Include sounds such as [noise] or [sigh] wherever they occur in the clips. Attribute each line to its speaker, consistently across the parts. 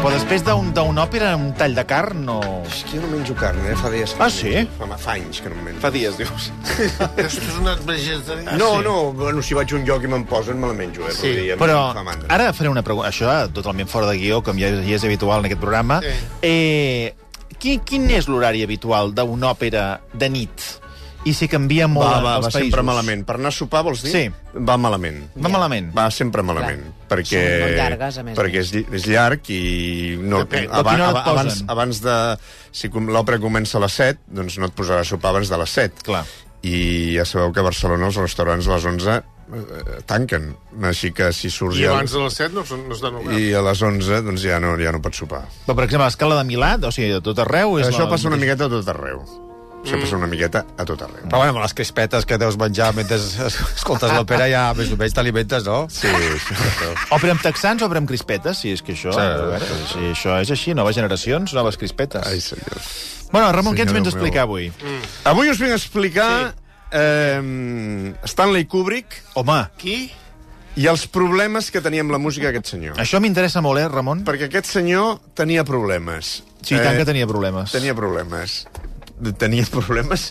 Speaker 1: Però després d'un- d'una òpera, un tall de carn, no...
Speaker 2: És que jo no menjo carn, eh? Fa dies. que
Speaker 1: Ah,
Speaker 2: no
Speaker 1: sí?
Speaker 2: menjo. Fa, fa anys que no en menjo. Fa dies, dius.
Speaker 3: Això és una vegetariana.
Speaker 2: No,
Speaker 1: sí?
Speaker 2: no, bueno, si vaig a un lloc i me'n posen, me la menjo, eh?
Speaker 3: Ah, Sí,
Speaker 2: Rodríguez,
Speaker 1: Però
Speaker 2: em fa mandra.
Speaker 1: ara faré una pregunta. Això, totalment fora de guió, com ja, ja és habitual en aquest programa.
Speaker 3: Sí.
Speaker 1: Eh, quin, quin és l'horari habitual d'una òpera de nit? I si canvia molt
Speaker 2: Va, va,
Speaker 1: els
Speaker 2: va
Speaker 1: països.
Speaker 2: sempre malament. Per anar a sopar, vols dir?
Speaker 1: Sí.
Speaker 2: Va malament.
Speaker 1: Va malament.
Speaker 2: Va sempre malament. Perquè,
Speaker 4: Són molt llargues, a més a
Speaker 2: perquè és, lli- és llarg i... No,
Speaker 3: Depèn.
Speaker 1: A quina hora et posen?
Speaker 2: abans, abans de... Si com- l'òpera comença a les 7, doncs no et posarà a sopar abans de les 7.
Speaker 1: Clar.
Speaker 2: I ja sabeu que a Barcelona els restaurants a les 11 eh, tanquen. Així que si surts
Speaker 3: I
Speaker 2: ja...
Speaker 3: abans de les 7 no, són- no estan oberts.
Speaker 2: I a les 11 doncs ja no, ja no pots sopar.
Speaker 1: Però, per exemple, a l'escala de Milà, o sigui, de tot arreu... És
Speaker 2: Això
Speaker 1: la...
Speaker 2: passa una miqueta a tot arreu. Això passa una miqueta a tot arreu.
Speaker 5: Però bueno, amb les crispetes que deus menjar mentre es- escoltes l'òpera ja més o menys t'alimentes, no?
Speaker 2: Sí, sí.
Speaker 1: [laughs] Òpera amb texans o òpera amb crispetes, si és que això...
Speaker 5: Sí.
Speaker 1: Sí. Si això és així, noves generacions, noves crispetes.
Speaker 2: Ai, senyor.
Speaker 1: Bueno, Ramon, què ens
Speaker 2: Senyor
Speaker 1: vens a
Speaker 2: Déu
Speaker 1: explicar
Speaker 2: meu.
Speaker 1: avui? Mm.
Speaker 2: Avui us vinc a explicar sí. eh, Stanley Kubrick
Speaker 1: Home,
Speaker 3: Qui?
Speaker 2: i els problemes que tenia amb la música aquest senyor.
Speaker 1: això m'interessa molt, eh, Ramon?
Speaker 2: Perquè aquest senyor tenia problemes. Eh,
Speaker 1: Sí, i tant que tenia problemes.
Speaker 2: Tenia problemes. Tenia problemes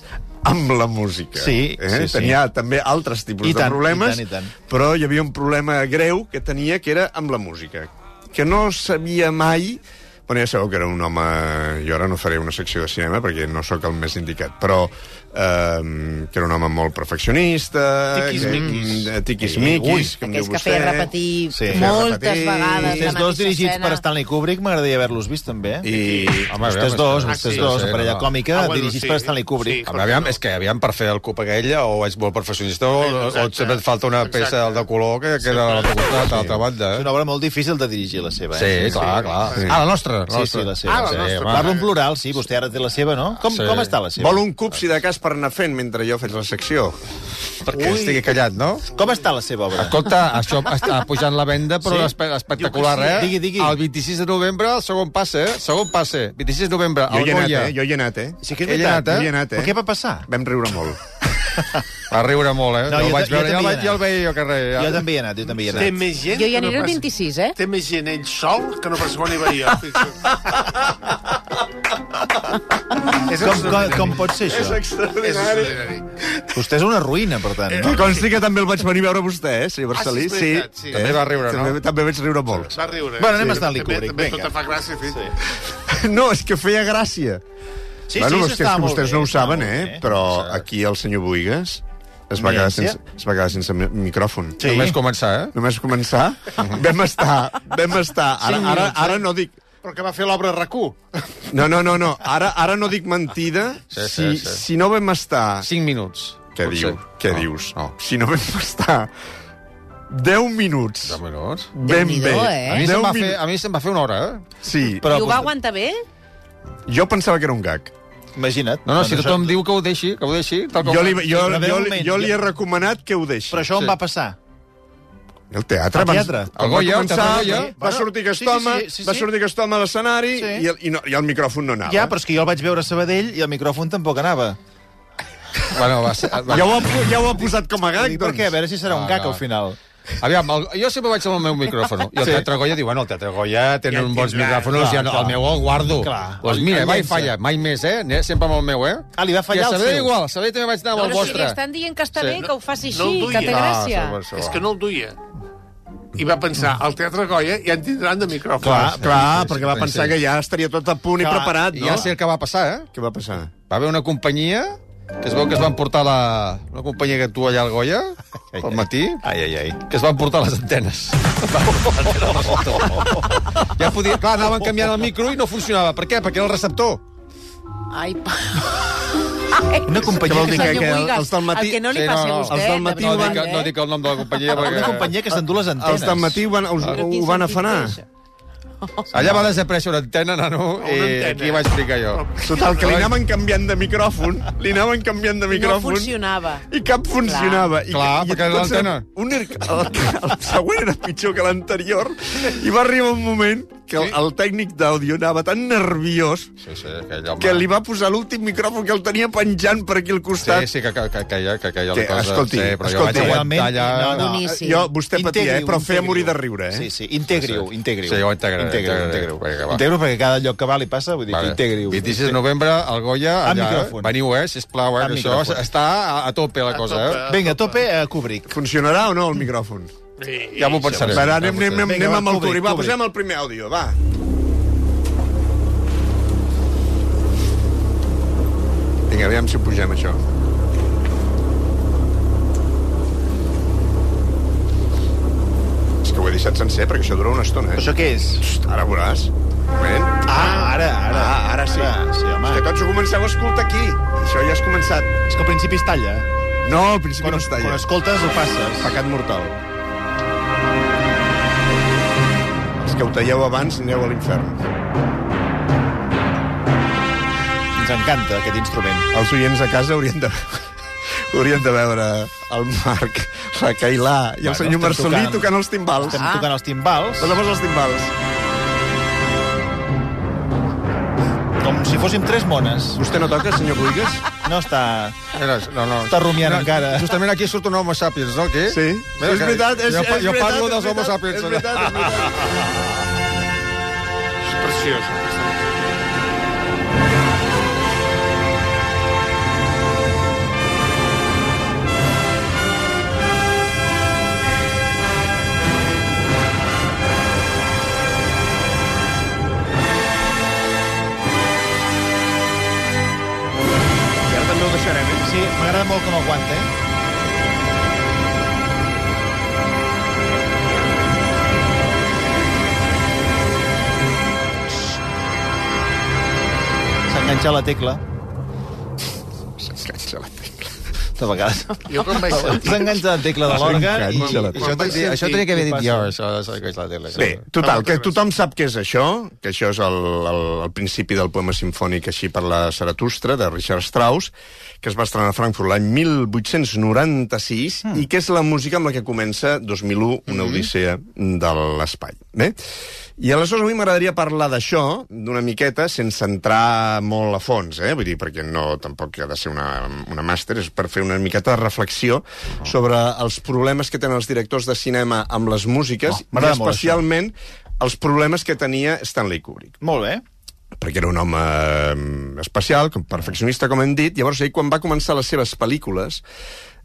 Speaker 2: amb la música. eh?
Speaker 1: Sí, sí, sí.
Speaker 2: Tenia també altres tipus
Speaker 1: I tant,
Speaker 2: de problemes,
Speaker 1: i tant, i tant.
Speaker 2: però hi havia un problema greu que tenia, que era amb la música. Que no sabia mai... Bueno, ja sabeu que era un home... Jo ara no faré una secció de cinema perquè no sóc el més indicat, però eh, que era un home molt perfeccionista...
Speaker 1: Tiquis-miquis.
Speaker 2: eh, Tiquis-miquis, com diu
Speaker 4: Aquells
Speaker 2: vostè.
Speaker 4: que feia repetir
Speaker 1: Sí.
Speaker 4: sí.
Speaker 1: Feia
Speaker 4: moltes
Speaker 2: repetir.
Speaker 4: vegades la
Speaker 1: Vostès dos
Speaker 4: mateixa
Speaker 1: dirigits
Speaker 4: escena.
Speaker 1: per Stanley Kubrick, m'agradaria haver-los vist, també. I...
Speaker 2: I...
Speaker 5: Home,
Speaker 1: Vostès
Speaker 5: aviam,
Speaker 1: dos,
Speaker 5: és que- Ah,
Speaker 1: vostès
Speaker 5: sí,
Speaker 1: dos,
Speaker 5: sí,
Speaker 1: la parella
Speaker 5: no.
Speaker 1: còmica,
Speaker 3: Ah, bueno,
Speaker 1: dirigits
Speaker 3: sí,
Speaker 1: per Stanley
Speaker 3: sí.
Speaker 1: Kubrick.
Speaker 5: A veure, aviam, és que aviam, per fer el cup aquell, o ets molt perfeccionista, o, o et sempre et falta una
Speaker 3: Exacte.
Speaker 5: peça de color que queda a l'altre costat, a l'altra banda.
Speaker 1: És
Speaker 5: Eh?
Speaker 1: una obra molt difícil de dirigir, la seva.
Speaker 5: Sí,
Speaker 1: Eh?
Speaker 5: clar, clar.
Speaker 2: Sí.
Speaker 5: Ah, la nostra.
Speaker 1: Sí, sí, la seva.
Speaker 3: Ah, la
Speaker 1: sí,
Speaker 3: nostra,
Speaker 1: home. Parlo en plural, sí, vostè ara té la seva, no? Com,
Speaker 5: Sí.
Speaker 1: com està la seva?
Speaker 2: Vol un cup, si de cas, per anar fent mentre jo faig la secció.
Speaker 5: Perquè estigui callat, no?
Speaker 1: Com està la seva obra?
Speaker 5: Escolta, això està pujant la venda, però
Speaker 1: Sí?
Speaker 5: sí? espe espectacular,
Speaker 1: Jo que sí.
Speaker 5: eh?
Speaker 1: Digui, digui.
Speaker 5: El 26 de novembre, el segon passe, eh? Segon passe. 26 de novembre,
Speaker 2: Jo
Speaker 5: al
Speaker 2: hi he anat,
Speaker 5: Goya.
Speaker 2: eh? Jo hi he anat, eh?
Speaker 1: Sí que és
Speaker 5: Ell ha
Speaker 1: veritat,
Speaker 5: anat, eh?
Speaker 2: Jo hi he anat, eh?
Speaker 1: Però què va passar?
Speaker 2: Vam riure molt.
Speaker 5: Va riure molt, eh?
Speaker 1: No,
Speaker 5: No,
Speaker 1: jo
Speaker 5: el vaig
Speaker 1: ta- jo
Speaker 5: veure, ja el
Speaker 1: també hi he
Speaker 5: vaig, ja el
Speaker 1: anat.
Speaker 5: veia jo al carrer. eh? Ja.
Speaker 1: Jo també hi he anat, jo també hi he
Speaker 3: Té
Speaker 1: anat.
Speaker 3: més gent...
Speaker 4: Jo hi
Speaker 3: que
Speaker 4: aniré
Speaker 3: no
Speaker 4: el
Speaker 3: pas-
Speaker 4: 26, eh?
Speaker 3: Té més gent ell sol que no pas quan hi va [laughs] jo. fixa't.
Speaker 1: Com, com, com pot ser això?
Speaker 3: És extraordinari.
Speaker 1: Vostè és una ruïna, per tant.
Speaker 2: [laughs] Que
Speaker 1: No?
Speaker 2: consti que també el vaig venir a veure a vostè, eh, senyor
Speaker 3: Ah, sí,
Speaker 2: Barcelí.
Speaker 3: és veritat, sí. També
Speaker 5: va riure, no?
Speaker 2: També, també vaig riure molt.
Speaker 3: Va riure. eh?
Speaker 1: Bueno, anem a
Speaker 3: Sí,
Speaker 1: Stanley
Speaker 3: també-
Speaker 1: Kubrick,
Speaker 3: També
Speaker 1: vinga.
Speaker 3: tot et fa gràcia, fill. Sí.
Speaker 2: [laughs] No, és que feia gràcia.
Speaker 1: Sí,
Speaker 2: bueno, és que, és
Speaker 1: s'estava
Speaker 2: que
Speaker 1: molt
Speaker 2: vostès
Speaker 1: bé,
Speaker 2: no ho
Speaker 1: estava
Speaker 2: saben,
Speaker 1: molt
Speaker 2: eh?
Speaker 1: bé.
Speaker 2: Però
Speaker 1: Sí.
Speaker 2: aquí el senyor Buigas es va, quedar
Speaker 1: Emergència.
Speaker 2: sense, es va quedar sense mi- micròfon.
Speaker 1: Sí.
Speaker 5: Només començar, eh?
Speaker 2: Només començar, vam estar, vam estar, ara, ara,
Speaker 1: eh?
Speaker 2: ara no dic,
Speaker 3: Però que va fer l'obra RAC1.
Speaker 2: no, no, no, no, ara, ara no dic mentida,
Speaker 5: Sí, sí,
Speaker 2: si,
Speaker 5: sí.
Speaker 2: si no vam estar,
Speaker 5: 5 minuts.
Speaker 2: Què, diu?
Speaker 5: potser.
Speaker 2: Què
Speaker 5: No,
Speaker 1: Ah.
Speaker 2: dius?
Speaker 5: No.
Speaker 2: Si no vam estar 10 minuts
Speaker 5: 10 minuts.
Speaker 2: ben
Speaker 4: Déu-n'hi-do,
Speaker 2: bé.
Speaker 4: eh?
Speaker 5: A mi, se'm
Speaker 2: 10
Speaker 5: va fer,
Speaker 2: minuts.
Speaker 5: a mi se'm va fer una hora, eh?
Speaker 2: Sí,
Speaker 4: I ho va aguantar bé?
Speaker 2: jo pensava que era un gag.
Speaker 1: Imagina't.
Speaker 5: No, no, si
Speaker 1: Doncs
Speaker 5: tothom
Speaker 1: això-
Speaker 5: diu que ho deixi, que ho deixi... Tal com
Speaker 2: Jo li, jo,
Speaker 1: Però ve
Speaker 2: jo,
Speaker 1: un
Speaker 2: li,
Speaker 1: moment,
Speaker 2: jo li
Speaker 1: jo-
Speaker 2: he recomanat que ho deixi.
Speaker 1: Però això on
Speaker 5: Sí.
Speaker 1: va passar?
Speaker 2: El teatre...
Speaker 1: Al
Speaker 2: abans-
Speaker 1: teatre.
Speaker 2: quan
Speaker 5: Al
Speaker 2: va
Speaker 5: Goya, al
Speaker 2: començar,
Speaker 5: teatre Goya.
Speaker 2: Va
Speaker 1: Bueno,
Speaker 2: sortir aquest
Speaker 1: sí, sí,
Speaker 2: home,
Speaker 1: sí, sí,
Speaker 2: va
Speaker 1: sí.
Speaker 2: sortir aquest home a l'escenari
Speaker 1: Sí.
Speaker 2: i, el, i, no, i el micròfon no anava.
Speaker 1: Ja, però és que jo el vaig veure a Sabadell i el micròfon tampoc anava.
Speaker 5: Bueno, va ser... Va...
Speaker 2: ja, ho ha, pu- ja ho ha posat com a
Speaker 1: Gag,
Speaker 2: gag,
Speaker 1: dic, per
Speaker 2: doncs.
Speaker 1: què? A veure si serà un
Speaker 5: Ah,
Speaker 1: gag
Speaker 5: no.
Speaker 1: al final.
Speaker 5: Aviam, el... jo sempre vaig amb el meu micròfon. I el
Speaker 1: Sí.
Speaker 5: sí. Teatre Goya diu, bueno, el Teatre Goya tenen
Speaker 3: Ja
Speaker 5: uns bons
Speaker 3: tindrà,
Speaker 5: micròfons,
Speaker 1: clar,
Speaker 5: ja no,
Speaker 1: clar.
Speaker 5: el meu el guardo.
Speaker 1: Clar.
Speaker 5: Doncs mira,
Speaker 1: El
Speaker 5: mai
Speaker 1: llença.
Speaker 5: falla, mai més, eh? Anem Sempre amb el meu, eh?
Speaker 1: Ah, li va fallar
Speaker 5: I a
Speaker 1: el
Speaker 5: Sabadell
Speaker 1: seu.
Speaker 5: igual, a Sabadell també vaig anar amb el
Speaker 4: Però si li
Speaker 5: vostre.
Speaker 4: estan dient que està
Speaker 5: Sí.
Speaker 4: bé, que ho faci
Speaker 3: No
Speaker 4: així,
Speaker 3: el
Speaker 4: que
Speaker 3: duia.
Speaker 4: té gràcia.
Speaker 5: Ah, sí, va, sí, va.
Speaker 3: És que no el duia. I va pensar, al Teatre Goya ja en tindran de micròfon.
Speaker 2: Clar, clar,
Speaker 5: sí,
Speaker 2: perquè va
Speaker 5: sí,
Speaker 2: pensar
Speaker 5: sí.
Speaker 2: que ja estaria tot a punt i
Speaker 1: Clar,
Speaker 2: preparat,
Speaker 5: I
Speaker 2: no?
Speaker 5: ja sé el que va passar, eh?
Speaker 2: Què va passar?
Speaker 5: Va haver una companyia que es veu que es van portar la... Una companyia que actua allà al
Speaker 1: [laughs]
Speaker 5: Goya, al matí,
Speaker 1: Ai, ai, ai.
Speaker 5: que es van portar les antenes. ja podia... Clar, anaven canviant el micro i no funcionava. Per què? Perquè era el receptor.
Speaker 4: Ai, pa... Ai,
Speaker 1: Una companyia que,
Speaker 4: senyor
Speaker 2: que- que
Speaker 4: Buigas,
Speaker 2: els del matí-
Speaker 4: El que no li
Speaker 5: Sí, no,
Speaker 4: passi
Speaker 5: no,
Speaker 4: a
Speaker 5: els
Speaker 4: vostè, eh?
Speaker 2: del matí
Speaker 5: No
Speaker 4: de
Speaker 5: dic,
Speaker 4: veritat,
Speaker 5: no dic el nom de la companyia,
Speaker 1: una
Speaker 5: perquè... Ah,
Speaker 1: companyia que s'endú les antenes.
Speaker 2: Els del matí ho van, us,
Speaker 4: eh?
Speaker 2: ho van afanar.
Speaker 5: Allà va desaparèixer una antena, nano,
Speaker 3: Una
Speaker 5: i
Speaker 3: antena.
Speaker 5: aquí va explicar jo.
Speaker 2: Total, que li anaven canviant de micròfon, li anaven canviant de
Speaker 4: No
Speaker 2: micròfon...
Speaker 4: funcionava.
Speaker 2: I cap funcionava. I,
Speaker 5: Clar,
Speaker 2: i
Speaker 5: perquè era
Speaker 2: tots
Speaker 5: l'antena.
Speaker 2: eren- Un, era- el, el següent era pitjor que l'anterior. I va arribar un moment que el, el tècnic d'àudio anava tan nerviós
Speaker 5: Sí, sí, aquell home.
Speaker 2: que li va posar l'últim micròfon que el tenia penjant per aquí al
Speaker 5: Sí,
Speaker 2: costat.
Speaker 5: sí, que, que, que, que, que, que, que,
Speaker 2: Que,
Speaker 5: la cosa...
Speaker 2: escolti,
Speaker 5: sí, però jo
Speaker 2: escolti,
Speaker 5: vaig aguantar allà...
Speaker 4: no, no. Boníssim.
Speaker 2: Jo, eh, vostè patia, eh?
Speaker 1: Integri-ho,
Speaker 2: però feia
Speaker 1: integri-ho.
Speaker 2: morir de riure, eh?
Speaker 6: Sí, sí, integri-ho, integri-ho.
Speaker 5: Sí, ho integraré,
Speaker 6: Integri-ho,
Speaker 5: integraré.
Speaker 6: integri-ho.
Speaker 5: Vinga, va.
Speaker 1: Integro perquè cada lloc que va li passa, vull dir,
Speaker 5: Vale.
Speaker 1: vale. integri-ho.
Speaker 5: 26 de novembre, al Goya,
Speaker 1: Amb
Speaker 5: allà.
Speaker 1: micròfon.
Speaker 5: Veniu, eh, sisplau, eh,
Speaker 1: Amb
Speaker 5: que això
Speaker 1: micròfon.
Speaker 5: està a, a tope, la cosa,
Speaker 3: tope.
Speaker 5: eh?
Speaker 1: Vinga, a tope a Kubrick.
Speaker 2: Funcionarà o no el micròfon?
Speaker 3: Sí,
Speaker 5: Ja m'ho pensaré.
Speaker 2: Va, anem, anem, anem,
Speaker 1: Vinga,
Speaker 2: anem
Speaker 1: va,
Speaker 2: amb el
Speaker 1: Kubrick,
Speaker 2: Turi. Va,
Speaker 1: Kubrick.
Speaker 2: posem el primer àudio, va. Vinga, aviam si ho pugem, això. És que ho he deixat sencer, perquè això dura una estona,
Speaker 6: Però
Speaker 2: eh?
Speaker 6: això què és?
Speaker 2: Psst, ara ho veuràs. Un moment.
Speaker 6: Ah, ara, ara.
Speaker 2: Ah, ara sí.
Speaker 6: Ara, sí, home.
Speaker 2: És que tots ho comenceu a escoltar aquí. Això ja has començat.
Speaker 1: És que al principi es talla.
Speaker 2: No, al principi
Speaker 1: Quan,
Speaker 2: no es
Speaker 1: quan
Speaker 2: talla.
Speaker 1: escoltes ho passes. Pecat mortal.
Speaker 2: Els que ho talleu abans aneu a l'infern.
Speaker 1: Ens encanta aquest instrument.
Speaker 2: els oients a casa haurien de [laughs] haurien de veure el Marc, la Cailà i el
Speaker 1: Bueno,
Speaker 2: bueno, senyor
Speaker 1: estem
Speaker 2: Marcelí
Speaker 1: tocant.
Speaker 2: tocant, els timbals.
Speaker 1: Estem
Speaker 2: Ah.
Speaker 1: tocant els timbals
Speaker 2: Posem els timbals.
Speaker 1: com si fóssim tres mones.
Speaker 2: Vostè no toca, senyor Buigas?
Speaker 1: No està...
Speaker 5: Mira, no, no.
Speaker 1: Està rumiant encara.
Speaker 5: Justament aquí surt un homo sapiens, no? Aquí?
Speaker 2: Sí.
Speaker 5: Mira,
Speaker 2: és
Speaker 5: que-
Speaker 2: veritat, és,
Speaker 5: jo,
Speaker 2: és
Speaker 5: jo
Speaker 2: veritat,
Speaker 5: parlo
Speaker 2: és
Speaker 5: dels homo
Speaker 2: veritat,
Speaker 5: sapiens.
Speaker 2: És veritat, és veritat.
Speaker 3: És preciós.
Speaker 2: I ara també ho deixarem, eh?
Speaker 1: Sí, m'agrada molt com aguanta, eh? S'enganxa a la tecla.
Speaker 2: S'enganxa la tecla.
Speaker 1: De [laughs] vegades.
Speaker 3: Jo com vaig sentir...
Speaker 1: S'enganxa a la tecla de l'òrgan i...
Speaker 2: S'enganxa la
Speaker 5: Això,
Speaker 3: Quan vaig
Speaker 5: tenia, això
Speaker 3: sentir-
Speaker 5: tenia que haver dit
Speaker 1: passa?
Speaker 5: jo, això, això que és la tele.
Speaker 2: Bé, total, que tothom sap què és això, que això és el, el, el principi del poema sinfònic Així per la Zaratustra, de Richard Strauss, que es va estrenar a Frankfurt l'any 1896, mm. i que és la música amb la que comença 2001, una odissea de l'espai. Bé, i aleshores avui m'agradaria parlar d'això, d'una miqueta, sense entrar molt a fons, eh? Vull dir, perquè no, tampoc ha de ser una, una màster, és per fer una miqueta de reflexió sobre els problemes que tenen els directors de cinema amb les músiques,
Speaker 1: Oh,
Speaker 2: oh, i
Speaker 1: m'agrada molt això.
Speaker 2: especialment els problemes que tenia Stanley Kubrick.
Speaker 1: Molt bé.
Speaker 2: Perquè era un home eh, especial, com perfeccionista, com hem dit. Llavors, ell, quan va començar les seves pel·lícules,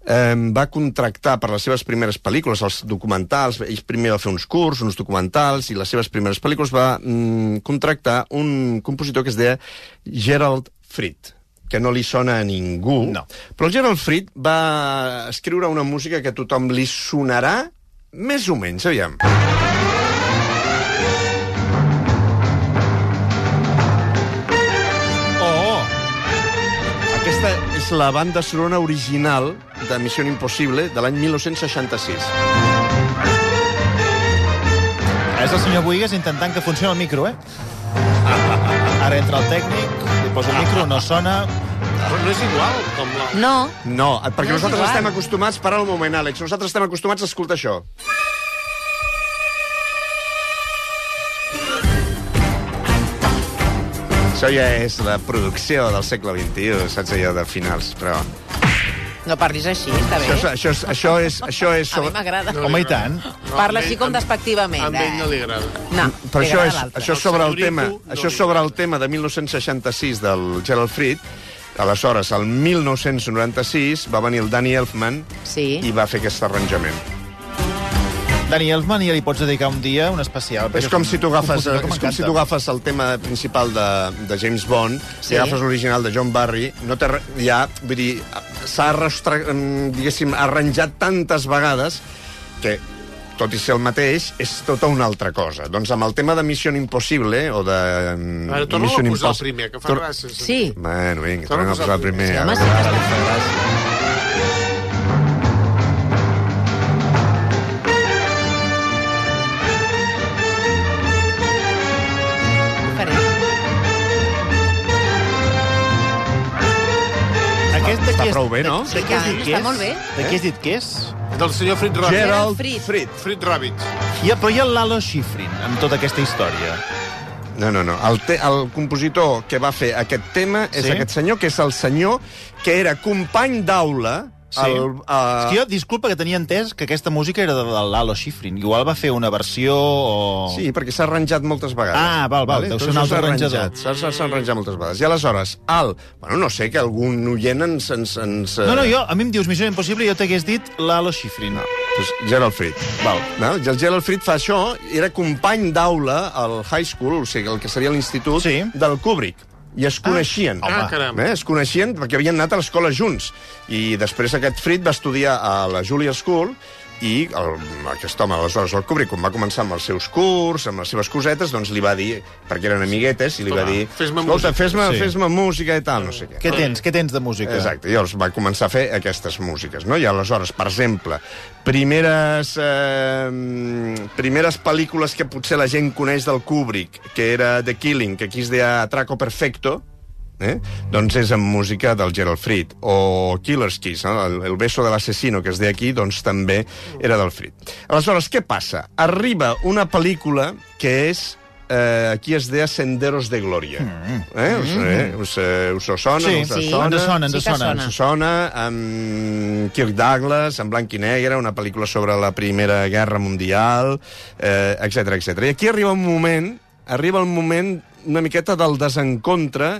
Speaker 2: eh, va contractar per les seves primeres pel·lícules, els documentals, ell primer va fer uns curs, uns documentals, i les seves primeres pel·lícules va mm, contractar un compositor que es deia Gerald Fried que no li sona a ningú.
Speaker 1: No.
Speaker 2: Però el Gerald Fried va escriure una música que a tothom li sonarà més o menys, aviam. Aquesta és la banda sonora original de Missió Impossible de l'any 1966.
Speaker 1: És el senyor Buigas intentant que funcioni el micro, eh? Ara entra el tècnic, li posa el micro, no sona...
Speaker 3: Però no és igual com la...
Speaker 4: No,
Speaker 2: No, perquè no
Speaker 4: No és
Speaker 2: nosaltres
Speaker 4: Ah, igual.
Speaker 2: estem acostumats... Para un moment, Àlex. Nosaltres estem acostumats a escoltar això. Això ja és la producció del segle XXI, saps allò de finals, però...
Speaker 4: no parlis així, està bé.
Speaker 2: Això, és- això, és, això és... Això és
Speaker 4: A mi m'agrada.
Speaker 1: Home, i tant.
Speaker 3: No,
Speaker 4: Parla
Speaker 3: amb
Speaker 4: així
Speaker 3: ell-
Speaker 4: com
Speaker 3: amb-
Speaker 4: despectivament,
Speaker 3: Amb ell
Speaker 4: eh?
Speaker 3: no li agrada.
Speaker 4: No,
Speaker 2: Però això és, això
Speaker 4: això...
Speaker 2: és sobre el
Speaker 3: El
Speaker 2: tema,
Speaker 3: senyorito no
Speaker 2: això és
Speaker 3: li
Speaker 2: sobre el
Speaker 3: agrada.
Speaker 2: tema de 1966 del Gerald Fried. Aleshores, el 1996 va venir el Danny Elfman
Speaker 4: Sí.
Speaker 2: i va fer aquest arranjament.
Speaker 1: Dani Elfman, ja li pots dedicar un dia, un especial. perquè
Speaker 2: És com
Speaker 1: un
Speaker 2: si tu agafes, eh,
Speaker 1: compositor que
Speaker 2: és com si tu
Speaker 1: m'encanta.
Speaker 2: agafes el tema principal de, de James Bond
Speaker 4: Sí.
Speaker 2: sí. i agafes l'original de John Barry, no té, re- ja, vull dir, s'ha restra- mm, diguéssim, arranjat tantes vegades que tot i ser el mateix, és tota una altra cosa. Doncs amb el tema de Missió Impossible, o de... mm,
Speaker 3: Ara torna a
Speaker 2: Mission
Speaker 3: posar
Speaker 2: Impos-
Speaker 3: el primer, que fa
Speaker 2: Tor-
Speaker 3: gràcia. senyor.
Speaker 4: Sí.
Speaker 2: Bueno, vinga, tornem
Speaker 3: Torna
Speaker 2: a posar el primer.
Speaker 3: primer.
Speaker 2: a
Speaker 4: Home, sí
Speaker 2: veure.
Speaker 4: que està...
Speaker 6: qui
Speaker 2: està prou bé, no?
Speaker 6: De, de què has dit que
Speaker 4: Sí, està
Speaker 6: és?
Speaker 4: molt bé.
Speaker 6: De què has dit que és?
Speaker 3: Del senyor Fritz Rabbit.
Speaker 4: Gerald
Speaker 2: Gerald
Speaker 4: Fried.
Speaker 2: Fried.
Speaker 3: Fritz Rabbit.
Speaker 1: I, però hi ha el Lalo Schifrin amb tota aquesta història.
Speaker 2: No, no, no. El, te el compositor que va fer aquest tema és
Speaker 1: Sí?
Speaker 2: aquest senyor, que és el senyor que era company d'aula
Speaker 1: Sí.
Speaker 2: al...
Speaker 1: És
Speaker 2: a-
Speaker 1: que jo, disculpa, que tenia entès que aquesta música era del Lalo Schifrin. Igual va fer una versió o...
Speaker 2: Sí, perquè s'ha arranjat moltes vegades.
Speaker 1: Ah, val, val, deu
Speaker 2: Tot
Speaker 1: ser un
Speaker 2: això s'ha
Speaker 1: altre
Speaker 2: arranjat,
Speaker 1: arranjador.
Speaker 2: s'ha- S'ha s'ha arranjat moltes vegades. I aleshores, el... Bueno, no sé, que algun oient ens... ens, ens
Speaker 1: No, no, jo, a mi em dius Missió Impossible i jo t'hagués dit Lalo Schifrin. No.
Speaker 2: Doncs Gerald Fried. Val. No? I el Gerald Fried fa això, era company d'aula al high school, o sigui, el que seria l'institut,
Speaker 1: Sí.
Speaker 2: del Kubrick. I es coneixien.
Speaker 3: ah, Home. caram.
Speaker 2: eh? Es coneixien perquè havien anat a l'escola junts. I després aquest Fried va estudiar a la Julia School i el, aquest home, aleshores, el Kubrick, quan va començar amb els seus curs, amb les seves cosetes, doncs li va dir, perquè eren amiguetes, i li va
Speaker 3: Clar,
Speaker 2: dir...
Speaker 3: fes-me
Speaker 2: "Escolta,
Speaker 3: música."
Speaker 2: Fes-me
Speaker 1: Sí.
Speaker 2: fes música i tal, no sé què.
Speaker 1: Què tens? Què tens de música?
Speaker 2: Exacte, i llavors va començar a fer aquestes músiques, no? I aleshores, per exemple, primeres, eh, primeres pel·lícules que potser la gent coneix del Kubrick, que era The Killing, que aquí es deia Atraco Perfecto, eh? doncs és amb música del Gerald Fried. O Killer's Kiss, no? el, el beso de l'assassino, que es deia aquí, doncs també era del Fried. Aleshores, què passa? Arriba una pel·lícula que és Eh, aquí es deia Senderos de Glòria. Mm. Eh? Us, eh? Us, eh, us, us sona?
Speaker 1: Sí,
Speaker 2: us
Speaker 4: sí.
Speaker 2: sona?
Speaker 1: Ens sona,
Speaker 4: Sí
Speaker 1: ens
Speaker 4: que
Speaker 1: sona.
Speaker 4: sona.
Speaker 2: Ens sona amb Kirk Douglas, en blanc i negre, una pel·lícula sobre la Primera Guerra Mundial, eh, etc etc. I aquí arriba un moment, arriba el moment una miqueta del desencontre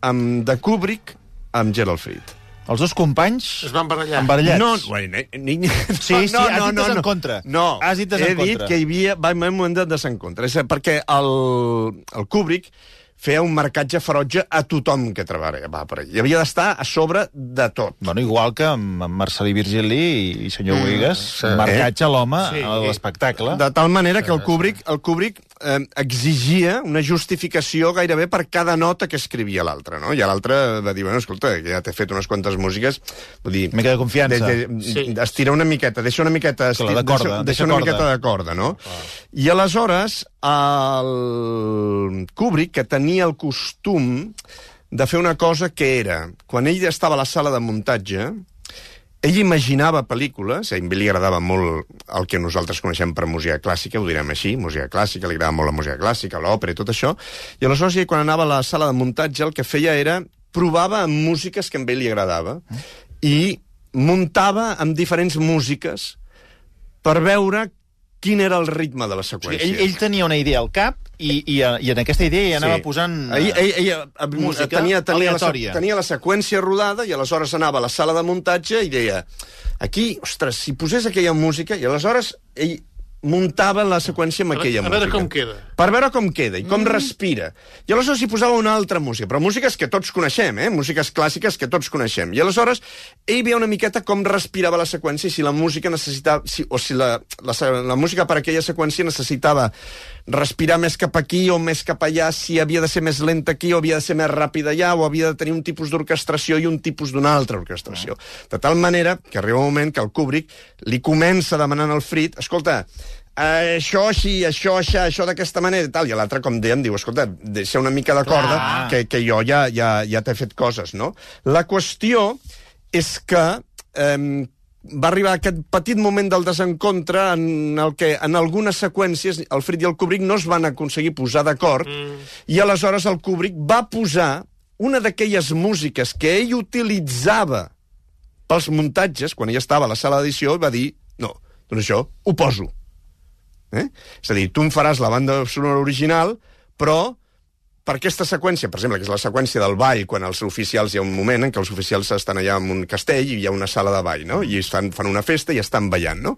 Speaker 2: amb, de Kubrick amb Gerald Fried.
Speaker 1: Els dos companys
Speaker 3: Es van barallar.
Speaker 1: embarallats.
Speaker 2: No, bueno, ni, ni,
Speaker 1: Sí, sí, has dit desencontre.
Speaker 2: No,
Speaker 1: Has dit
Speaker 2: he
Speaker 1: desencontre.
Speaker 2: dit que hi havia va haver un moment de desencontre. És a dir, perquè el, el Kubrick feia un marcatge ferotge a tothom que treballava per allà. Hi havia d'estar a sobre de tot.
Speaker 1: Bueno, igual que amb amb Marcelí Virgili i senyor mm, Huigas, marcatge l'home
Speaker 3: Sí.
Speaker 1: a l'espectacle.
Speaker 2: De tal manera que el Kubrick, el Kubrick eh, exigia una justificació gairebé per cada nota que escrivia l'altre, no? I l'altre va dir, bueno, escolta, que ja t'he fet unes quantes músiques, vull dir...
Speaker 1: Una mica de confiança.
Speaker 2: De, de,
Speaker 3: Sí.
Speaker 2: Estira una miqueta, deixa una miqueta... Estir,
Speaker 1: Clar, eh, de corda,
Speaker 2: deixa,
Speaker 1: deixa
Speaker 2: deixa una
Speaker 1: corda.
Speaker 2: miqueta de corda, no? I aleshores, el Kubrick, que tenia el costum de fer una cosa que era, quan ell estava a la sala de muntatge, ell imaginava pel·lícules, a ell li agradava molt el que nosaltres coneixem per música clàssica, ho direm així, música clàssica, li agradava molt la música clàssica, l'òpera i tot això, i aleshores ell, quan anava a la sala de muntatge el que feia era provava amb músiques que a ell li agradava
Speaker 1: Mm.
Speaker 2: i muntava amb diferents músiques per veure quin era el ritme de la
Speaker 1: O sigui,
Speaker 2: seqüència.
Speaker 1: ell, ell tenia una idea al cap i, i, eh, i en aquesta idea hi anava sí. posant...
Speaker 2: Ell, ell, ell, eh,
Speaker 1: música
Speaker 2: tenia, tenia, la, se-
Speaker 1: aleatòria.
Speaker 2: tenia la seqüència rodada i aleshores anava a la sala de muntatge i deia, aquí, ostres, si posés aquella música... I aleshores ell muntava la seqüència amb
Speaker 3: A
Speaker 2: aquella
Speaker 3: veure- a veure
Speaker 2: música.
Speaker 3: com queda.
Speaker 2: Per veure com queda i com mm. respira. I aleshores hi posava una altra música, però músiques que tots coneixem, eh? músiques clàssiques que tots coneixem. I aleshores ell veia una miqueta com respirava la seqüència i si la música necessitava... Si, o si la, la, se- la música per aquella seqüència necessitava respirar més cap aquí o més cap allà, si havia de ser més lenta aquí o havia de ser més ràpida allà, o havia de tenir un tipus d'orquestració i un tipus d'una altra orquestració. De tal manera que arriba un moment que el Kubrick li comença demanant al Frit, escolta, eh, això així, això això, això d'aquesta manera i tal, i l'altre, com dèiem, diu, escolta, deixa una mica de corda,
Speaker 1: Clar.
Speaker 2: que, que jo ja, ja, ja t'he fet coses, no? La qüestió és que eh, va arribar aquest petit moment del desencontre en el que en algunes seqüències el Frit i el Kubrick no es van aconseguir posar d'acord mm. i aleshores el Kubrick va posar una d'aquelles músiques que ell utilitzava pels muntatges, quan ell estava a la sala d'edició, va dir, no, doncs això ho poso. Eh? És a dir, tu em faràs la banda sonora original, però per aquesta seqüència, per exemple, que és la seqüència del ball, quan els oficials, hi ha un moment en què els oficials estan allà en un castell i hi ha una sala de ball, no? I es fan, fan una festa i estan ballant, no?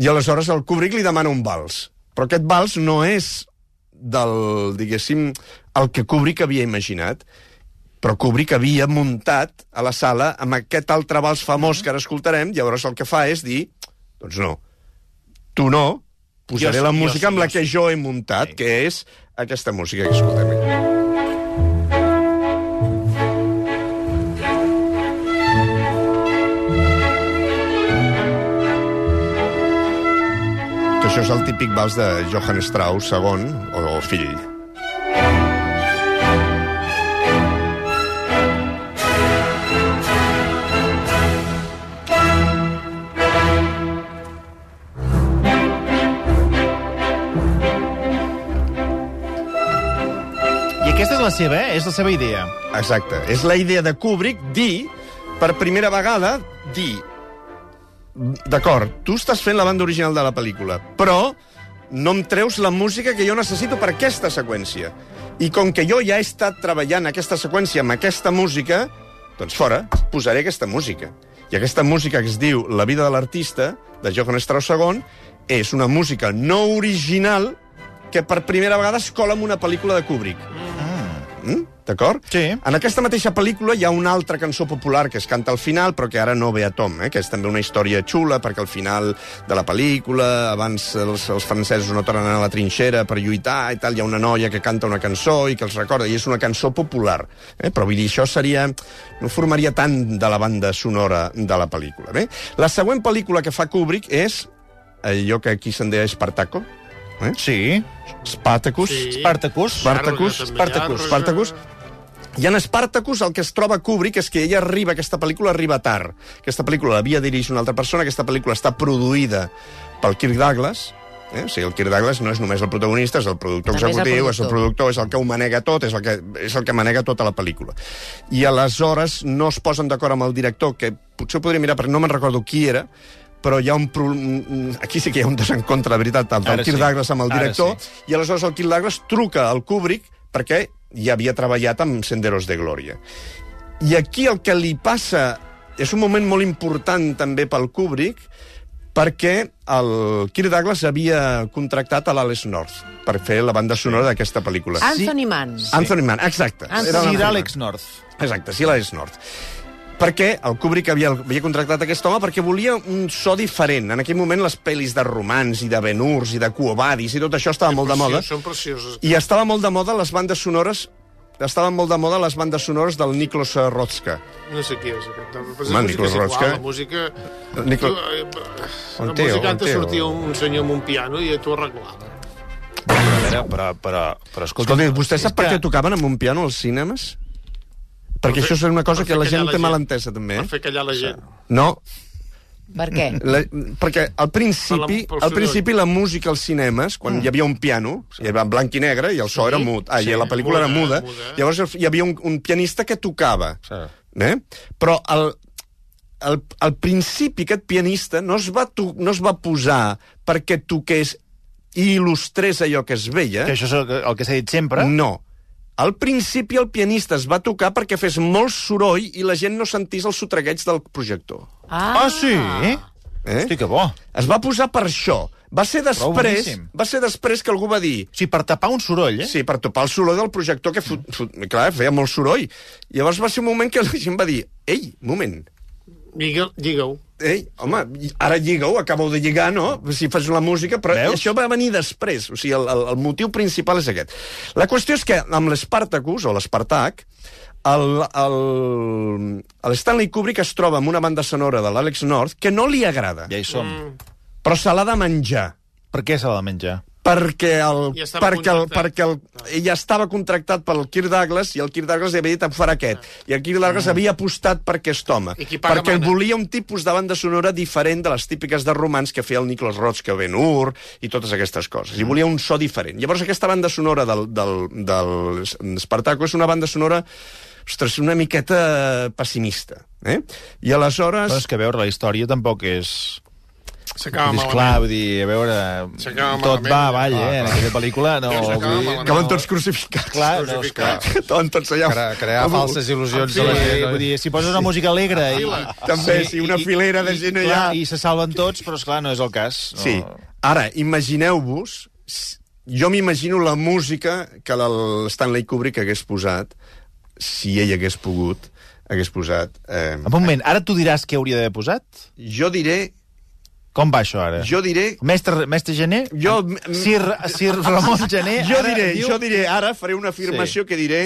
Speaker 2: I aleshores el Kubrick li demana un vals. Però aquest vals no és del, diguéssim, el que Kubrick havia imaginat, però Kubrick havia muntat a la sala amb aquest altre vals famós que ara escoltarem, llavors el que fa és dir, doncs no, tu no, posaré
Speaker 3: Jo sí,
Speaker 2: la
Speaker 3: jo
Speaker 2: música
Speaker 3: sí,
Speaker 2: amb la
Speaker 3: jo
Speaker 2: que jo he muntat, que és aquesta música que escoltem aquí. Que això és el típic vals de Johann Strauss II, o, o fill.
Speaker 1: Aquesta és la seva, eh? És la seva idea.
Speaker 2: Exacte. És la idea de Kubrick dir, per primera vegada, dir... D'acord, tu estàs fent la banda original de la pel·lícula, però no em treus la música que jo necessito per aquesta seqüència. I com que jo ja he estat treballant aquesta seqüència amb aquesta música, doncs fora, posaré aquesta música. I aquesta música que es diu La vida de l'artista, de Johann Strauss II, és una música no original que per primera vegada es cola en una pel·lícula de Kubrick. Mm? D'acord?
Speaker 1: Sí.
Speaker 2: En aquesta mateixa pel·lícula hi ha una altra cançó popular que es canta al final, però que ara no ve a tom, eh? que és també una història xula, perquè al final de la pel·lícula, abans els, els francesos no tornen a la trinxera per lluitar i tal, hi ha una noia que canta una cançó i que els recorda, i és una cançó popular. Eh? Però vull dir, això seria... no formaria tant de la banda sonora de la pel·lícula. Bé? La següent pel·lícula que fa Kubrick és allò que aquí se'n deia Espartaco, eh?
Speaker 1: Sí.
Speaker 2: Spartacus,
Speaker 3: Sí.
Speaker 1: Spartacus.
Speaker 2: Spartacus,
Speaker 3: Llarga,
Speaker 2: Spartacus,
Speaker 3: també, llarga.
Speaker 2: Spartacus. I en Spartacus el que es troba Kubrick és que ella arriba, aquesta pel·lícula arriba tard. Aquesta pel·lícula l'havia dirigit una altra persona, aquesta pel·lícula està produïda pel Kirk Douglas, Eh? O sigui, el Kirk Douglas no és només el protagonista, és el productor
Speaker 4: També és el
Speaker 2: executiu, és el
Speaker 4: productor.
Speaker 2: productor, és el que ho manega tot, és el que, és el que manega tota la pel·lícula. I aleshores no es posen d'acord amb el director, que potser ho podria mirar, perquè no me'n recordo qui era, però hi ha un... pro- mm, Aquí sí que hi ha un desencontre, de veritat, del
Speaker 1: Ara
Speaker 2: Kirk
Speaker 1: sí.
Speaker 2: Douglas amb el
Speaker 1: Ara
Speaker 2: director,
Speaker 1: sí.
Speaker 2: i aleshores el Kirk Douglas truca al Kubrick perquè ja havia treballat amb Senderos de Glòria. I aquí el que li passa és un moment molt important també pel Kubrick, perquè el Kirk Douglas havia contractat a l'Alex North per fer la banda sonora d'aquesta pel·lícula.
Speaker 4: Anthony Mann.
Speaker 2: Sí. Anthony Mann, exacte.
Speaker 4: Anthony-
Speaker 2: Era
Speaker 1: Sir
Speaker 2: l'Anthony
Speaker 1: Alex North.
Speaker 2: Mann. Exacte, sí, l'Alex North. Perquè el Kubrick havia, havia contractat aquest home perquè volia un so diferent. En aquell moment les pel·lis de romans i de Benurs i de Cuobadis i tot això estava molt de moda.
Speaker 3: Són precioses.
Speaker 2: I estava molt de moda les bandes sonores estaven molt de moda les bandes sonores del Niklos eh, Rotzka.
Speaker 3: No sé qui és aquest. home, però
Speaker 2: Home,
Speaker 3: és
Speaker 2: Nicolas
Speaker 3: música, és igual,
Speaker 2: Rotzke.
Speaker 3: La música...
Speaker 2: Nicolas-
Speaker 3: Eh, eh, La
Speaker 2: Monteo,
Speaker 3: música antes
Speaker 2: Monteo.
Speaker 3: sortia un senyor amb un piano i t'ho arreglava.
Speaker 5: Però, però, però, però escolta...
Speaker 2: Escolta, vostè sap per
Speaker 1: que-
Speaker 2: què tocaven amb un piano als cinemes? Perquè això és una cosa
Speaker 3: Per
Speaker 2: que
Speaker 3: fer
Speaker 2: la
Speaker 3: callar
Speaker 2: gent té mal entesa, també.
Speaker 3: Per fer
Speaker 2: Eh?
Speaker 3: callar la gent.
Speaker 2: No,
Speaker 4: Per què?
Speaker 2: la, perquè al principi,
Speaker 3: Per la- pel
Speaker 2: al
Speaker 3: soroll.
Speaker 2: principi la música als cinemes, quan
Speaker 3: Mm.
Speaker 2: hi havia un piano, hi havia en blanc i negre, i el so era mut, ah, i la pel·lícula
Speaker 3: muda,
Speaker 2: era muda,
Speaker 3: muda.
Speaker 2: llavors hi havia un, un pianista que tocava.
Speaker 5: Sí.
Speaker 2: Eh? Però el, el, al principi aquest pianista no es, va to, no es va posar perquè toqués i il·lustrés allò que es veia.
Speaker 1: Que això és el que- el que s'ha dit sempre.
Speaker 2: No. Al principi el pianista es va tocar perquè fes molt soroll i la gent no sentís el sotragueig del projector.
Speaker 4: Ah,
Speaker 1: Ah, sí?
Speaker 2: Eh?
Speaker 1: Hosti, que bo.
Speaker 2: Es va posar per això. Va ser després,
Speaker 1: boníssim.
Speaker 2: va ser després que algú va dir
Speaker 1: O sigui, per tapar un soroll, eh?
Speaker 2: Sí, per topar el soroll del projector, que fot, fot, clar, feia molt soroll. Llavors va ser un moment que la gent va dir Ei, moment,
Speaker 3: Digue-ho. Digue
Speaker 2: ei, home, i- ara lliga-ho, acabeu de lligar, no? Si fas la música, però Veus? això va venir després. O sigui, el, el, el motiu principal és aquest. La qüestió és que amb l'Spartacus, o l'Espartac, el, el, el Stanley Kubrick es troba amb una banda sonora de l'Àlex North que no li agrada,
Speaker 1: Ja hi som.
Speaker 2: però se l'ha de menjar
Speaker 1: Per què s'ha de menjar?
Speaker 2: perquè, el,
Speaker 3: Ja estava
Speaker 2: perquè, el,
Speaker 3: contractat.
Speaker 2: perquè el, ella estava contractat pel Kirk Douglas i el Kirk Douglas li havia dit em farà aquest. I el Kirk Douglas havia apostat per aquest home.
Speaker 3: Ah. I qui paga
Speaker 2: perquè
Speaker 3: mana.
Speaker 2: volia un tipus de banda sonora diferent de les típiques de romans que feia el Nicholas Rots, que Ben Hur i totes aquestes coses.
Speaker 3: Mm.
Speaker 2: I volia un so diferent. Llavors aquesta banda sonora del, del, del Spartaco és una banda sonora ostres, una miqueta pessimista. Eh? I aleshores...
Speaker 1: Però és que a veure, la història tampoc és...
Speaker 3: S'acaba
Speaker 1: Dis, clar, vull dir, a veure...
Speaker 3: S'acaba
Speaker 1: Tot
Speaker 3: malament. Ah,
Speaker 1: va avall, eh? En aquella pel·lícula no...
Speaker 3: S'acaba
Speaker 1: vull dir-
Speaker 3: malament.
Speaker 2: Acaben tots crucificats.
Speaker 1: Clar,
Speaker 2: [laughs]
Speaker 1: no, esclar.
Speaker 2: Acaben tots allà.
Speaker 5: Cre crear
Speaker 2: Amb-
Speaker 5: falses il·lusions
Speaker 1: Sí,
Speaker 5: de la gent.
Speaker 1: vull dir, si poses una música alegre... I,
Speaker 2: També, si una filera de gent allà.
Speaker 1: Clar, I se salven tots, però esclar, no és el cas. No.
Speaker 2: Sí. Oh. Ara, imagineu-vos... s- Jo m'imagino la música que el Stanley Kubrick hagués posat, si ell hagués pogut, hagués posat... Eh,
Speaker 1: En un moment, ara tu diràs què hauria d'haver posat?
Speaker 2: jo diré...
Speaker 1: Com va això, ara?
Speaker 2: Jo diré...
Speaker 1: Mestre, mestre Gené?
Speaker 2: Jo,
Speaker 1: Sir, Sir Ramon Gené?
Speaker 2: jo
Speaker 1: ara
Speaker 2: diré,
Speaker 1: diu-
Speaker 2: jo diré, ara faré una afirmació sí. que diré...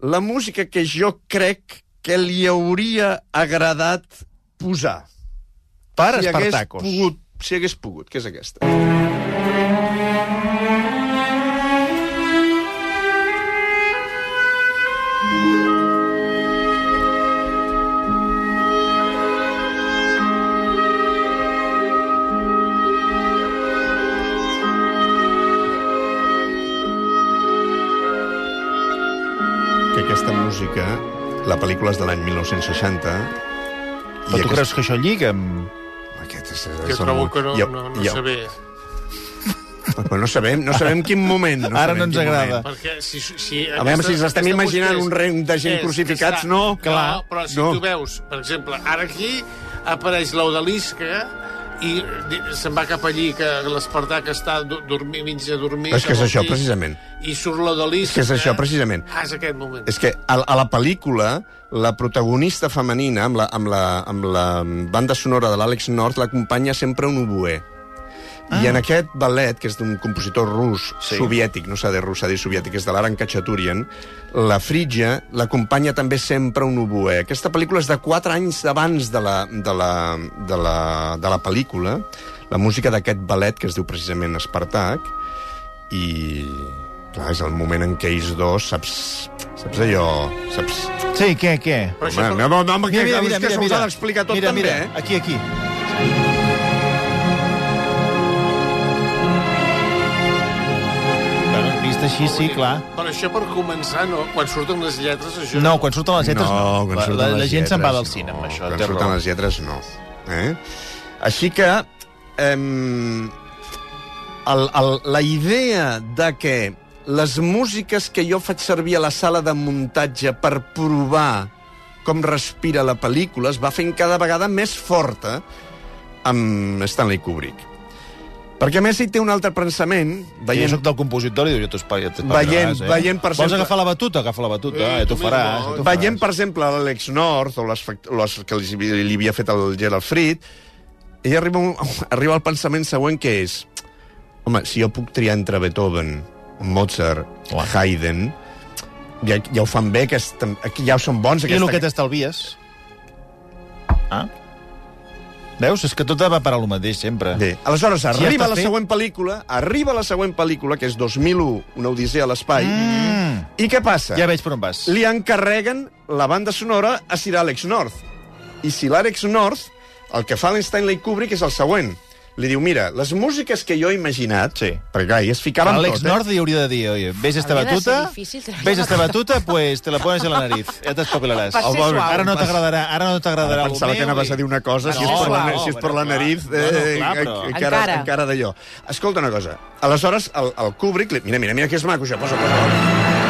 Speaker 2: La música que jo crec que li hauria agradat posar.
Speaker 1: Per
Speaker 2: si hagués
Speaker 1: Espartacos.
Speaker 2: pogut, si hagués pogut, que és aquesta. que aquesta música, la pel·lícula és de l'any 1960...
Speaker 5: Però tu creus que això lliga amb...
Speaker 2: Aquest és, és
Speaker 3: Jo
Speaker 2: el
Speaker 3: trobo
Speaker 2: mo-
Speaker 3: que no,
Speaker 2: jo-
Speaker 3: no, no
Speaker 2: jo- [laughs]
Speaker 3: sé bé.
Speaker 2: Però no sabem, no sabem quin moment. No
Speaker 5: Ara
Speaker 2: sabem
Speaker 5: no ens
Speaker 2: quin
Speaker 5: agrada.
Speaker 2: moment.
Speaker 3: Perquè si... si
Speaker 2: A veure si ens estem imaginant un reng de gent
Speaker 3: és-
Speaker 2: crucificats,
Speaker 3: està-
Speaker 2: no, clar,
Speaker 3: No, però si
Speaker 2: no.
Speaker 3: tu veus, per exemple, ara aquí apareix l'Odalisca i di- se'n va cap allí, que l'Espartà que està do- dormir, mig a dormir...
Speaker 2: Però és que és
Speaker 3: cap al
Speaker 2: això,
Speaker 3: pis,
Speaker 2: precisament.
Speaker 3: I surt l'Odalisca...
Speaker 2: És que és això, precisament.
Speaker 3: Ah, és aquest moment.
Speaker 2: És que a, a la pel·lícula, la protagonista femenina, amb la, amb la, amb la banda sonora de l'Àlex Nord, l'acompanya sempre un oboè. Ah. I en aquest ballet, que és d'un compositor rus, sí. soviètic, no s'ha de rus, s'ha de dir soviètic, és de l'Aran Kachaturian, la Frígia l'acompanya també sempre un oboè. Aquesta pel·lícula és de 4 anys abans de la, de la, de la, de la pel·lícula, la música d'aquest ballet, que es diu precisament Espartac, i clar, és el moment en què ells dos saps, saps allò saps...
Speaker 1: Sí, què, què?
Speaker 3: Però
Speaker 2: Home, no, no, no, mira, mira, mira, que se us ha
Speaker 1: mira.
Speaker 2: d'explicar tot
Speaker 1: mira,
Speaker 2: també
Speaker 1: Mira,
Speaker 2: eh?
Speaker 1: aquí, aquí. Bueno, vist així, sí, clar.
Speaker 3: Però això per començar, no? Quan surten les lletres, això...
Speaker 1: No, quan surten les lletres, no.
Speaker 2: quan
Speaker 1: La-
Speaker 2: surten
Speaker 1: la, la
Speaker 2: les
Speaker 1: gent se'n va
Speaker 2: lletres,
Speaker 1: del cine, amb això.
Speaker 2: Quan
Speaker 1: té
Speaker 2: surten
Speaker 1: raó.
Speaker 2: les lletres, no. Eh? Així que... Ehm, el, el, la idea de que les músiques que jo faig servir a la sala de muntatge per provar com respira la pel·lícula es va fent cada vegada més forta amb Stanley Kubrick. Perquè a més hi té un altre pensament,
Speaker 5: Sí, jo
Speaker 2: veient
Speaker 5: sóc del compositori, jo t'ho espai...
Speaker 2: Veient- veient, per
Speaker 1: eh? Vols
Speaker 2: exemple-
Speaker 1: agafar la batuta? Agafa la batuta,
Speaker 3: Eh,
Speaker 1: eh, ja t'ho
Speaker 3: tu
Speaker 1: faràs.
Speaker 3: mismo,
Speaker 1: ja t'ho faràs.
Speaker 2: Veiem, per exemple, l'Àlex North, o les, fac- les que li, li havia fet el Gerald Fried, ell arriba, un, [laughs] arriba al pensament següent, que és... Home, si jo puc triar entre Beethoven, Mozart, o Haydn, ja, ja ho fan bé, que, es, que ja són bons.
Speaker 1: I el
Speaker 2: Aquesta...
Speaker 1: que t'estalvies. Ah. Veus? És que tot va parar el mateix, sempre.
Speaker 2: Bé, aleshores,
Speaker 1: està
Speaker 2: arriba la
Speaker 1: fet.
Speaker 2: següent pel·lícula, arriba la següent pel·lícula, que és 2001, una odissea a l'espai, mm. i què passa?
Speaker 1: Ja veig per on vas.
Speaker 2: li encarreguen la banda sonora a Sir Alex North. I Sir Alex North, el que fa l'Stanley Kubrick és el següent. Li diu, mira, les músiques que jo he imaginat...
Speaker 1: Sí.
Speaker 2: Perquè, clar, hi es ficaven
Speaker 1: Àlex
Speaker 2: tot, eh?
Speaker 1: Nord li hauria de dir, oye, ves esta
Speaker 4: Hauria de ser
Speaker 1: batuta,
Speaker 4: difícil treballar
Speaker 1: ves esta
Speaker 4: amb el-
Speaker 1: batuta, pues te la pones en la nariz, ja t'espavilaràs.
Speaker 4: Per ser
Speaker 1: Au,
Speaker 4: suau.
Speaker 1: Ara no t'agradarà, ara no t'agradarà
Speaker 2: Ara
Speaker 1: el
Speaker 2: pensava que
Speaker 1: meu
Speaker 2: anaves
Speaker 1: i-
Speaker 2: a dir una cosa, si
Speaker 1: No,
Speaker 2: és per la,
Speaker 1: clar,
Speaker 2: si és per
Speaker 1: home,
Speaker 2: la
Speaker 1: clar.
Speaker 2: nariz,
Speaker 1: No, no, clar,
Speaker 2: eh,
Speaker 1: però-
Speaker 2: encara,
Speaker 4: Encara.
Speaker 2: encara d'allò. Escolta una cosa, aleshores el, el Kubrick... Li... Mira, mira, mira que és maco això, posa, posa. posa.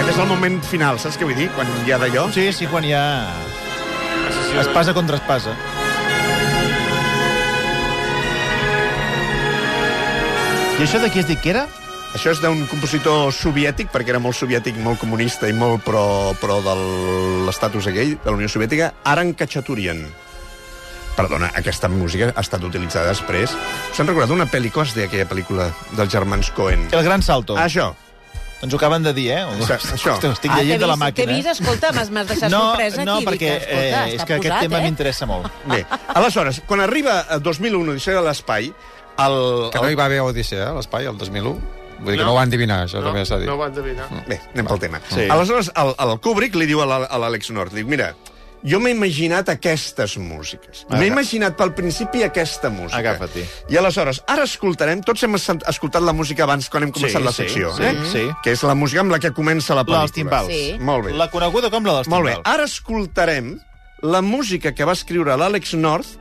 Speaker 2: Aquest és el moment final, saps què vull dir? Quan hi ha d'allò...
Speaker 1: Sí, sí, quan hi ha... Espasa contra espasa. I això de qui has dit que era?
Speaker 2: Això és d'un compositor soviètic, perquè era molt soviètic, molt comunista i molt pro, pro de l'estatus aquell, de la Unió Soviètica, Aran Kachaturian. Perdona, aquesta música ha estat utilitzada després. S'han recordat una pel·li cos d'aquella pel·lícula dels germans Cohen?
Speaker 1: El gran salto.
Speaker 5: Oh.
Speaker 2: Ah, això.
Speaker 1: Ens ho acaben de dir, eh?
Speaker 2: Això, això.
Speaker 1: Hosti, Estic
Speaker 4: Ah, t'he
Speaker 1: llegint de la
Speaker 4: vist- T'he
Speaker 1: màquina.
Speaker 4: vist, escolta, m'has m'has deixat
Speaker 1: no,
Speaker 4: sorpresa
Speaker 1: no,
Speaker 4: aquí. dic,
Speaker 1: perquè
Speaker 4: escolta,
Speaker 1: eh, és
Speaker 4: està
Speaker 1: que aquest
Speaker 4: posat,
Speaker 1: tema
Speaker 4: eh?
Speaker 1: m'interessa molt.
Speaker 2: Bé, aleshores, quan arriba eh, a 2001 Odissea de l'Espai, el,
Speaker 5: Que no hi va haver Odissea, eh, a l'espai, el 2001. Vull dir que
Speaker 3: No.
Speaker 5: no ho va endevinar, això
Speaker 3: no,
Speaker 5: també s'ha dit.
Speaker 3: no ho van endevinar.
Speaker 2: Bé, anem pel tema. Sí.
Speaker 5: Sí.
Speaker 2: Aleshores, el, el Kubrick li diu a l'A- a l'Àlex Nord, diu, mira, jo m'he imaginat aquestes músiques. M'he imaginat pel principi aquesta música.
Speaker 5: Agafa-t'hi.
Speaker 2: I aleshores, ara escoltarem... Tots hem sent- escoltat la música abans quan hem començat
Speaker 5: Sí,
Speaker 2: la
Speaker 5: sí,
Speaker 2: secció,
Speaker 5: sí,
Speaker 2: eh?
Speaker 5: sí.
Speaker 2: Que és la música amb la que comença la
Speaker 1: La
Speaker 2: pel·lícula.
Speaker 1: dels timbals.
Speaker 4: Sí.
Speaker 2: Molt bé.
Speaker 1: La coneguda com la dels
Speaker 2: Molt bé. Ah,
Speaker 1: timbals.
Speaker 2: Ara escoltarem la música que va escriure l'Àlex North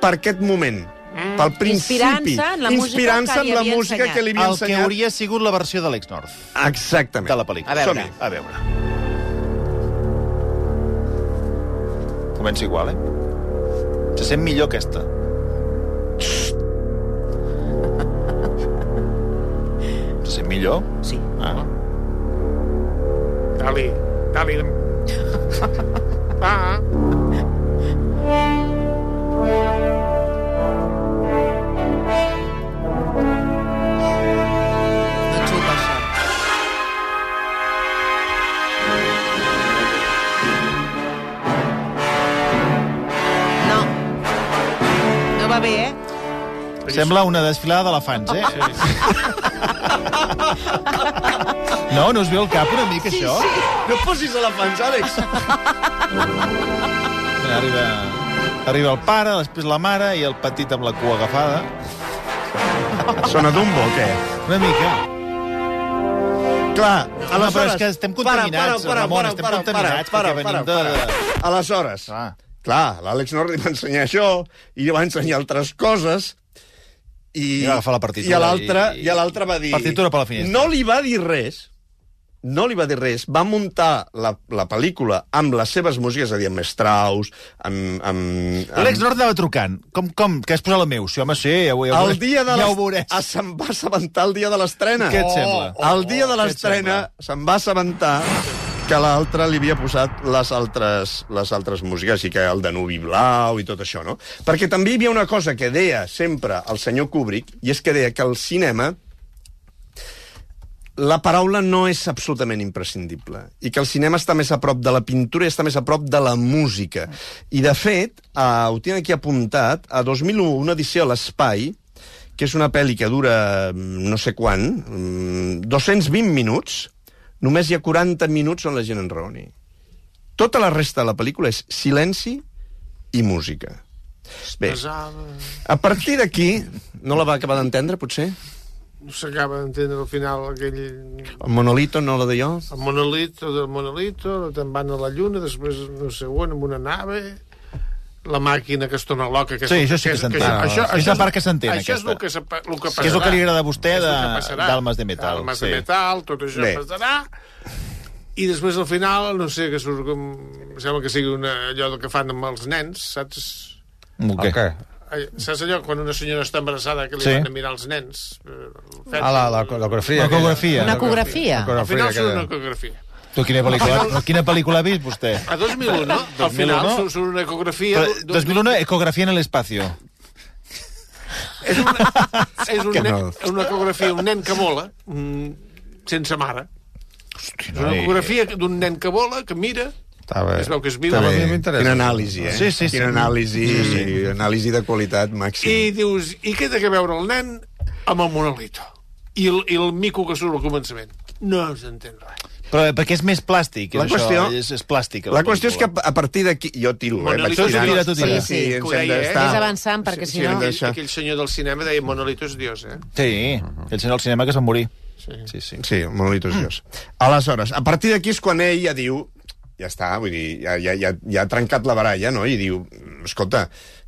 Speaker 2: per aquest moment. Mm. Pel principi.
Speaker 4: Ah, Inspirant-se en la música
Speaker 2: Inspirant-se
Speaker 4: que
Speaker 2: en
Speaker 4: li
Speaker 2: la
Speaker 4: havia
Speaker 2: música
Speaker 4: ensenyat.
Speaker 2: que li havia
Speaker 1: El que
Speaker 2: ensenyat.
Speaker 1: hauria sigut la versió de l'Ex North,
Speaker 2: Exactament.
Speaker 1: de la pel·lícula.
Speaker 4: A veure.
Speaker 2: Som-hi.
Speaker 1: A veure. Comença igual, eh? Se sent millor aquesta. Se sent millor?
Speaker 4: Sí.
Speaker 1: Ah.
Speaker 3: Dali, dali. Va,
Speaker 4: No xupa, això. No. No va bé, eh?
Speaker 1: Sembla una desfilada d'elefants, eh? No, no us veu el cap una mica,
Speaker 4: Sí,
Speaker 1: això?
Speaker 4: sí.
Speaker 2: No posis elefants, Àlex.
Speaker 1: Mira, Arriba, arriba el pare, després la mare i el petit amb la cua agafada.
Speaker 2: Sona Dumbo o què?
Speaker 1: Una mica. Clar, home, però és que estem
Speaker 2: Para,
Speaker 1: contaminats,
Speaker 2: para, para,
Speaker 1: Ramon,
Speaker 2: para,
Speaker 1: estem
Speaker 2: para,
Speaker 1: contaminats
Speaker 2: para,
Speaker 1: perquè
Speaker 2: para,
Speaker 1: venim de...
Speaker 2: para. Aleshores,
Speaker 1: Clar.
Speaker 2: clar, l'Àlex Norris va ensenyar això, i va ensenyar altres coses, i,
Speaker 5: I va agafar la partitura
Speaker 2: i a l'altre
Speaker 5: i-
Speaker 2: i a l'altre va dir...
Speaker 5: Partitura per la finestra.
Speaker 2: No li va dir res, no li va dir res. Va muntar la, la pel·lícula amb les seves músiques, és a dir, amb Strauss, amb... amb, amb
Speaker 1: L'Àlex Nord anava trucant. Com, com? Que has posat el meu? Sí, home, sí, ja ho, ja ho
Speaker 2: el dia de
Speaker 1: ja
Speaker 2: les-
Speaker 1: ho veuràs.
Speaker 2: Ah, Se'n va assabentar el dia de l'estrena.
Speaker 1: Què et sembla?
Speaker 2: El dia de
Speaker 1: Què et
Speaker 2: l'estrena se'n va assabentar que l'altre li havia posat les altres, les altres músiques, així que el Danubi Blau i tot això, no? Perquè també hi havia una cosa que deia sempre el senyor Kubrick, i és que deia que al cinema la paraula no és absolutament imprescindible i que el cinema està més a prop de la pintura i està més a prop de la música. I, de fet, eh, ho tinc aquí apuntat, a 2001, una edició a l'Espai, que és una pel·li que dura mm, no sé quan, mm, 220 minuts, només hi ha 40 minuts on la gent enraoni. Tota la resta de la pel·lícula és silenci i música. Bé, a partir d'aquí... No la va acabar d'entendre, potser?
Speaker 3: No s'acaba d'entendre al final aquell...
Speaker 2: El monolito no la de jo?
Speaker 3: El monolito del monolito, te'n van a la lluna, després no sé on, amb una nave la màquina que es torna loca... Que
Speaker 1: Sí,
Speaker 3: el-
Speaker 1: això sí que s'entén. Ah, és la part que s'entén,
Speaker 3: Això és
Speaker 1: aquesta.
Speaker 3: el que, s'apa- el que
Speaker 1: Que
Speaker 3: passarà.
Speaker 1: és el que li agrada a vostè
Speaker 3: És el
Speaker 1: de-
Speaker 3: que passarà.
Speaker 1: d'Almas de Metal,
Speaker 3: Almas
Speaker 1: sí.
Speaker 3: de Metal, tot això
Speaker 2: Bé.
Speaker 3: passarà. I després, al final, no sé, que surt com... em Sembla que sigui una, allò del que fan amb els nens, saps?
Speaker 2: oh.
Speaker 1: Okay. Okay.
Speaker 3: Ai, Saps allò quan una senyora està embarassada que li
Speaker 1: Sí.
Speaker 3: van a mirar els nens? Eh, el fet-
Speaker 5: Ah, la, la, la
Speaker 1: La
Speaker 5: coreografia. aquella.
Speaker 1: ecografia.
Speaker 4: Una ecografia.
Speaker 3: Al final
Speaker 5: aquella.
Speaker 3: surt una ecografia.
Speaker 1: Tu quina pel·lícula,
Speaker 2: [laughs]
Speaker 1: quina pel·lícula ha vist, vostè?
Speaker 3: A 2001, no? Al final
Speaker 1: 2001?
Speaker 3: surt- surt una ecografia...
Speaker 1: Però,
Speaker 3: d'un-
Speaker 1: 2001, ecografia en l'espacio.
Speaker 3: És una, és un
Speaker 2: Que
Speaker 3: nen,
Speaker 2: no.
Speaker 3: és una ecografia, un nen que vola, mm, sense mare. És una
Speaker 1: noi.
Speaker 3: ecografia d'un nen que vola, que mira,
Speaker 5: Estava...
Speaker 3: es veu que es viu,
Speaker 5: Eh, Està
Speaker 3: a la
Speaker 5: bé.
Speaker 3: vida
Speaker 2: Quina anàlisi, eh?
Speaker 1: Sí, sí, sí.
Speaker 2: Quina anàlisi, sí, sí. anàlisi de qualitat
Speaker 3: i
Speaker 2: màxima.
Speaker 3: dius, i què té que veure el nen amb el monolito? I el, i el mico que surt al començament. No s'entén res.
Speaker 1: Però eh, perquè és més plàstic, és
Speaker 2: La qüestió-
Speaker 1: això. És, és plàstic.
Speaker 2: La qüestió és que a partir d'aquí... Jo tiro, eh?
Speaker 3: Monolito,
Speaker 2: Vaig
Speaker 3: tu
Speaker 2: tirant,
Speaker 1: tira, tu tira.
Speaker 2: perquè
Speaker 4: Sí,
Speaker 3: sí,
Speaker 2: ens
Speaker 3: que ho
Speaker 2: hem
Speaker 3: deia, eh?
Speaker 2: d'estar-
Speaker 4: Vés avançant, perquè si
Speaker 2: sí,
Speaker 4: no-
Speaker 2: hem
Speaker 3: Aquell,
Speaker 2: d'això.
Speaker 3: aquell senyor del cinema deia monolito és Dios, eh?
Speaker 1: Sí, el senyor del cinema que es va morir.
Speaker 5: Sí, sí.
Speaker 2: Sí, el monolito és Dios. Aleshores, a partir d'aquí és quan ell ja diu... Ja està, vull dir, ja, ja, ja, ja ha trencat la baralla, no? I diu, escolta,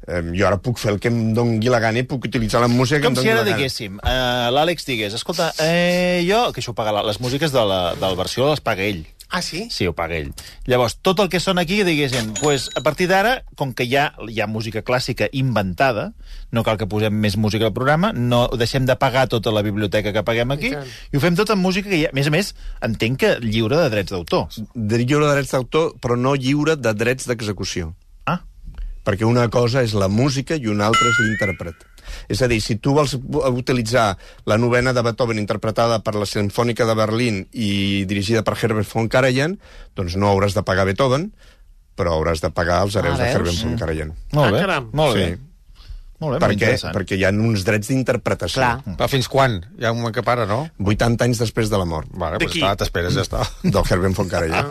Speaker 2: eh, jo ara puc fer el que em dongui la gana i puc utilitzar la música que
Speaker 1: Com
Speaker 2: em
Speaker 1: si
Speaker 2: dongui
Speaker 1: ara
Speaker 2: la gana.
Speaker 1: diguéssim, uh, l'Àlex digués, escolta, eh, jo, que això ho paga, la- les músiques de la, de la versió les paga ell.
Speaker 3: Ah, sí?
Speaker 1: Sí, ho paga ell. Llavors, tot el que sona aquí, diguéssim, pues, a partir d'ara, com que hi ha, hi ha música clàssica inventada, no cal que posem més música al programa, no deixem de pagar tota la biblioteca que paguem aquí,
Speaker 3: I
Speaker 1: i,
Speaker 3: tant.
Speaker 1: ho fem tot amb música que hi ha. A més a més, entenc que lliure de drets d'autor.
Speaker 2: De lliure de drets d'autor, però no lliure de drets d'execució.
Speaker 1: Ah,
Speaker 2: perquè una cosa és la música i una altra és l'intèrpret. És a dir, si tu vols eh, utilitzar la novena de Beethoven interpretada per la Sinfònica de Berlín i dirigida per Herbert von Karajan, doncs no hauràs de pagar Beethoven, però hauràs de pagar els hereus de
Speaker 4: Ah, veus?
Speaker 2: Herbert von Karajan.
Speaker 1: molt
Speaker 3: Ah,
Speaker 1: bé.
Speaker 3: caram.
Speaker 1: Molt bé.
Speaker 2: Sí.
Speaker 1: Molt bé,
Speaker 2: Per
Speaker 1: molt
Speaker 2: què?
Speaker 1: interessant.
Speaker 2: Perquè hi ha uns drets d'interpretació.
Speaker 4: Clar.
Speaker 5: Però Mm. fins quan? Hi ha un moment que para, no?
Speaker 2: 80 anys després de la mort
Speaker 5: Vale,
Speaker 3: De
Speaker 5: pues
Speaker 3: qui?
Speaker 5: està, t'esperes, ja està.
Speaker 2: del Herbert
Speaker 1: [laughs]
Speaker 2: von Karajan.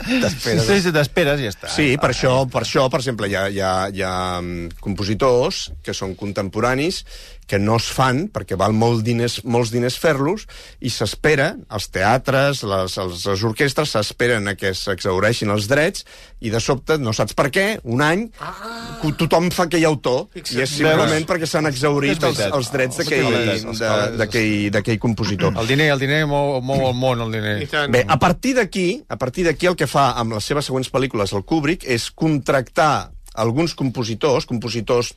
Speaker 1: T'esperes. Sí, sí, t'esperes i ja està.
Speaker 2: Sí, per això, per això, per exemple, hi ha, hi ha, hi ha mm, compositors que són contemporanis que no es fan perquè val molt diners, molts diners fer-los i s'espera, els teatres, les, els, les orquestres s'esperen a que s'exhaureixin els drets i de sobte, no saps per què, un any, ah. tothom fa aquell autor i és simplement perquè s'han exhaurit els,
Speaker 1: veritat.
Speaker 2: els drets
Speaker 5: Els
Speaker 2: d'aquell-
Speaker 5: col·legues,
Speaker 2: de-
Speaker 5: els
Speaker 2: d'aquell d'aquell compositor.
Speaker 5: El diner, el diner mou, mou el món, el diner.
Speaker 3: I tant.
Speaker 2: Bé, a partir d'aquí, a partir d'aquí el que fa amb les seves següents pel·lícules el Kubrick és contractar alguns compositors, compositors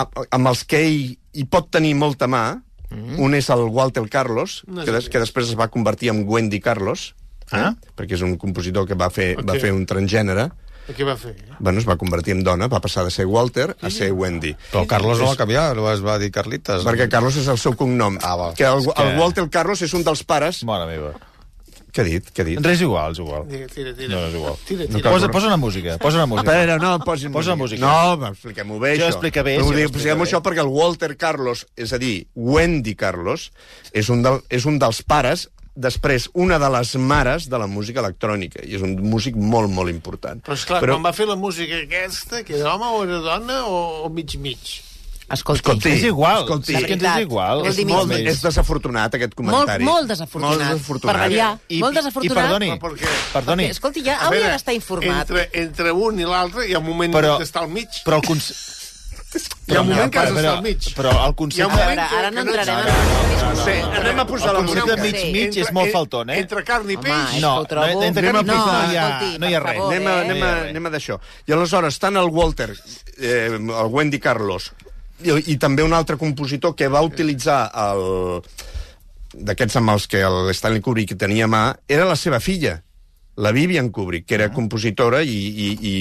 Speaker 2: a- amb els que ell hi pot tenir molta mà. Mm. Un és el Walter Carlos, que, des, que després es va convertir en Wendy Carlos,
Speaker 1: Ah.
Speaker 2: eh? perquè és un compositor que va fer, okay. va
Speaker 3: Ok.
Speaker 2: fer un transgènere.
Speaker 3: Què va fer?
Speaker 2: Bueno, es va convertir en dona, va passar de ser Walter a ser Wendy.
Speaker 5: Però el Carlos no va canviar, no es va dir Carlitas.
Speaker 2: Perquè Carlos és el seu cognom.
Speaker 5: Ah, va.
Speaker 2: que el,
Speaker 1: És que-
Speaker 2: el Walter Carlos és un dels pares...
Speaker 1: Mare meva.
Speaker 2: Què ha dit? Què ha dit?
Speaker 1: Res igual, és igual.
Speaker 3: Tira, tira, tira.
Speaker 1: No, no és igual.
Speaker 3: Tira,
Speaker 1: No
Speaker 3: tira.
Speaker 1: cal- posa, posa una música, posa una música.
Speaker 2: Espera, no, posin
Speaker 1: Posa música.
Speaker 2: No, expliquem-ho bé,
Speaker 1: Jo
Speaker 2: això.
Speaker 1: explica bé,
Speaker 2: Però
Speaker 1: jo
Speaker 2: ho dic,
Speaker 1: explica
Speaker 2: expliquem
Speaker 1: bé.
Speaker 2: això perquè el Walter Carlos, és a dir, Wendy Carlos, és un, del, és un dels pares, després una de les mares de la música electrònica, i és un músic molt, molt important.
Speaker 3: Però esclar, Però... quan va fer la música aquesta, que era home o era dona o, o mig mig?
Speaker 4: Escolti.
Speaker 2: Escolti.
Speaker 1: És igual.
Speaker 2: Escolti.
Speaker 1: és que ens és igual.
Speaker 4: Vol
Speaker 2: És,
Speaker 4: dir
Speaker 2: molt,
Speaker 4: més.
Speaker 2: és desafortunat, aquest
Speaker 4: Molt,
Speaker 2: comentari.
Speaker 4: molt desafortunat.
Speaker 2: Molt desafortunat.
Speaker 4: Per variar. I, molt
Speaker 1: I
Speaker 4: desafortunat.
Speaker 1: perdoni,
Speaker 3: Però per què?
Speaker 1: perdoni,
Speaker 4: Perquè, escolti, ja hauria d'estar informat.
Speaker 3: Entre, entre un i l'altre hi ha un moment
Speaker 1: Però-
Speaker 3: que està al mig.
Speaker 1: però el cons...
Speaker 3: hi ha un moment
Speaker 1: però-
Speaker 3: que has d'estar
Speaker 1: però-
Speaker 3: al mig.
Speaker 1: Però el
Speaker 3: Hi ha
Speaker 4: A
Speaker 3: un
Speaker 1: concepte...
Speaker 3: moment
Speaker 4: veure,
Speaker 3: que-
Speaker 4: ara
Speaker 3: que
Speaker 4: no
Speaker 3: no ens-
Speaker 4: entrarem en
Speaker 3: No,
Speaker 4: discussió.
Speaker 3: no sé, anem a posar
Speaker 1: El
Speaker 3: la
Speaker 1: concepte
Speaker 3: música.
Speaker 1: mig-mig és
Speaker 3: Entre-
Speaker 1: molt
Speaker 3: en-
Speaker 1: faltón, eh?
Speaker 3: Entre carn i
Speaker 4: Home,
Speaker 3: peix.
Speaker 4: és
Speaker 1: No,
Speaker 4: que ho trobo...
Speaker 1: no, entre carn i peix no hi ha-
Speaker 4: escolti,
Speaker 1: no hi ha
Speaker 4: per
Speaker 1: res.
Speaker 4: favor,
Speaker 2: Anem, a, anem, a,
Speaker 1: eh?
Speaker 2: anem a d'això. I aleshores, tant el Walter, eh, el Wendy Carlos, i, i també un altre compositor que va utilitzar el d'aquests amb els que el Stanley Kubrick tenia a mà, era la seva filla, la Vivian Kubrick, que
Speaker 1: Ah.
Speaker 2: era compositora i... i, i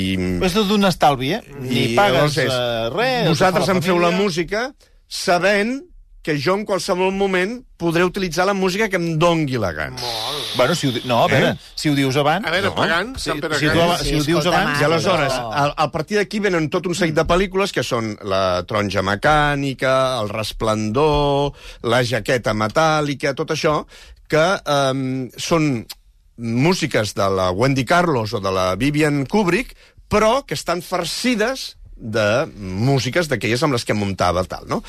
Speaker 1: És tot un estalvi, eh?
Speaker 3: Mm.
Speaker 1: Ni
Speaker 2: I
Speaker 1: pagues
Speaker 2: llavors és,
Speaker 1: eh, res...
Speaker 2: Vosaltres
Speaker 1: fa
Speaker 2: em feu la
Speaker 1: família.
Speaker 2: música sabent que jo en qualsevol moment podré utilitzar la música que em dongui la gana.
Speaker 1: Bueno, si ho, di- no, a veure, si ho dius abans...
Speaker 3: Eh? A veure, pagant, Sant Pere
Speaker 1: si, tu,
Speaker 3: Gall.
Speaker 1: aba- si ho
Speaker 4: Sí,
Speaker 1: dius
Speaker 4: escolta,
Speaker 1: abans...
Speaker 4: Marc.
Speaker 2: I aleshores,
Speaker 4: però-
Speaker 2: a, a partir d'aquí venen tot un seguit de pel·lícules que són La taronja mecànica, El resplendor, La jaqueta metàl·lica, tot això, que um, són músiques de la Wendy Carlos o de la Vivian Kubrick, però que estan farcides de músiques d'aquelles amb les que muntava tal, no?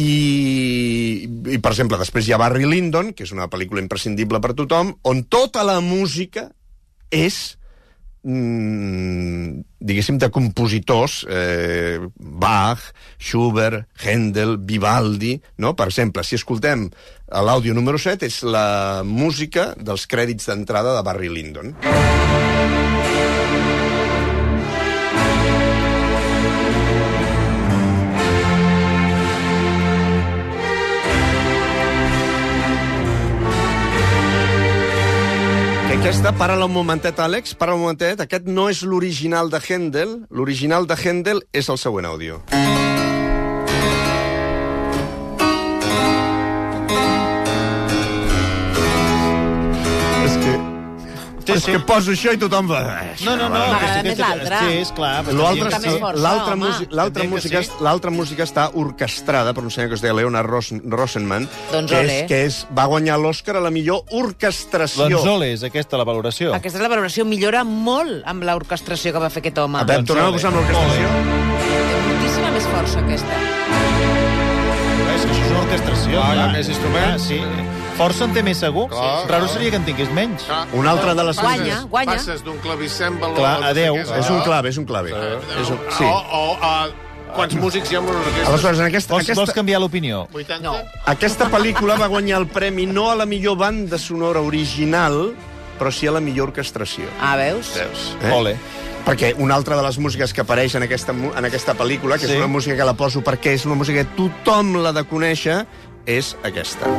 Speaker 2: I, I, per exemple, després hi ha Barry Lyndon, que és una pel·lícula imprescindible per tothom, on tota la música és mm, diguéssim, de compositors, eh, Bach, Schubert, Händel, Vivaldi, no? Per exemple, si escoltem l'àudio número 7, és la música dels crèdits d'entrada de Barry Lyndon. Que aquesta, para-la un momentet, Àlex, para un momentet, aquest no és l'original de Händel, l'original de Händel és el següent àudio. És que...
Speaker 1: Sí,
Speaker 2: és
Speaker 1: sí.
Speaker 2: que poso això i tothom va...
Speaker 1: No, no, no.
Speaker 4: M'agrada
Speaker 1: sí que
Speaker 4: més
Speaker 1: té-
Speaker 4: l'altre.
Speaker 1: Sí, esclar. però
Speaker 2: L'altra
Speaker 4: Està
Speaker 1: també-
Speaker 4: més
Speaker 2: sí,
Speaker 4: fort. força,
Speaker 2: l'altra
Speaker 4: home.
Speaker 2: música, l'altra
Speaker 1: Entenc que
Speaker 2: música,
Speaker 1: sí.
Speaker 2: l'altra música està orquestrada per un senyor que es deia Leonard Ros Rosenman,
Speaker 4: Doncs
Speaker 2: que, és,
Speaker 4: ole.
Speaker 2: que és, va guanyar l'Oscar a la millor orquestració.
Speaker 1: Doncs ole, és aquesta la valoració.
Speaker 4: Aquesta és la valoració. Millora molt amb l'orquestració que va fer aquest home.
Speaker 2: A veure,
Speaker 1: Doncs
Speaker 2: tornem a
Speaker 1: ole.
Speaker 2: posar amb l'orquestració.
Speaker 4: Té moltíssima més força, aquesta.
Speaker 1: És que això és una orquestració.
Speaker 5: Clar, hi ha
Speaker 1: clar.
Speaker 5: més instruments.
Speaker 1: Clar, sí. Força en té més segur.
Speaker 5: Clar,
Speaker 1: Raro
Speaker 5: clar.
Speaker 1: seria que en tingués menys.
Speaker 3: Clar.
Speaker 2: Una altra de les...
Speaker 4: Guanya,
Speaker 3: Passes-
Speaker 4: guanya.
Speaker 3: Passes d'un clavicèmbal...
Speaker 1: Clar,
Speaker 3: a-
Speaker 1: adeu.
Speaker 3: a-
Speaker 2: És un clave, és un clave. És un... Sí.
Speaker 3: O, o, a, quants músics hi ha en una orquestra?
Speaker 2: Aleshores, en aquesta,
Speaker 1: Vols, vols
Speaker 2: aquesta,
Speaker 1: canviar l'opinió?
Speaker 3: 80?
Speaker 4: No.
Speaker 2: aquesta pel·lícula va guanyar el premi no a la millor banda sonora original, però sí a la millor orquestració.
Speaker 4: Ah, veus?
Speaker 2: Eh?
Speaker 1: Ole.
Speaker 2: Perquè una altra de les músiques que apareix en aquesta, mu- en aquesta pel·lícula, que sí.
Speaker 1: Sí.
Speaker 2: és una música que la poso perquè és una música que tothom l'ha de conèixer, és aquesta.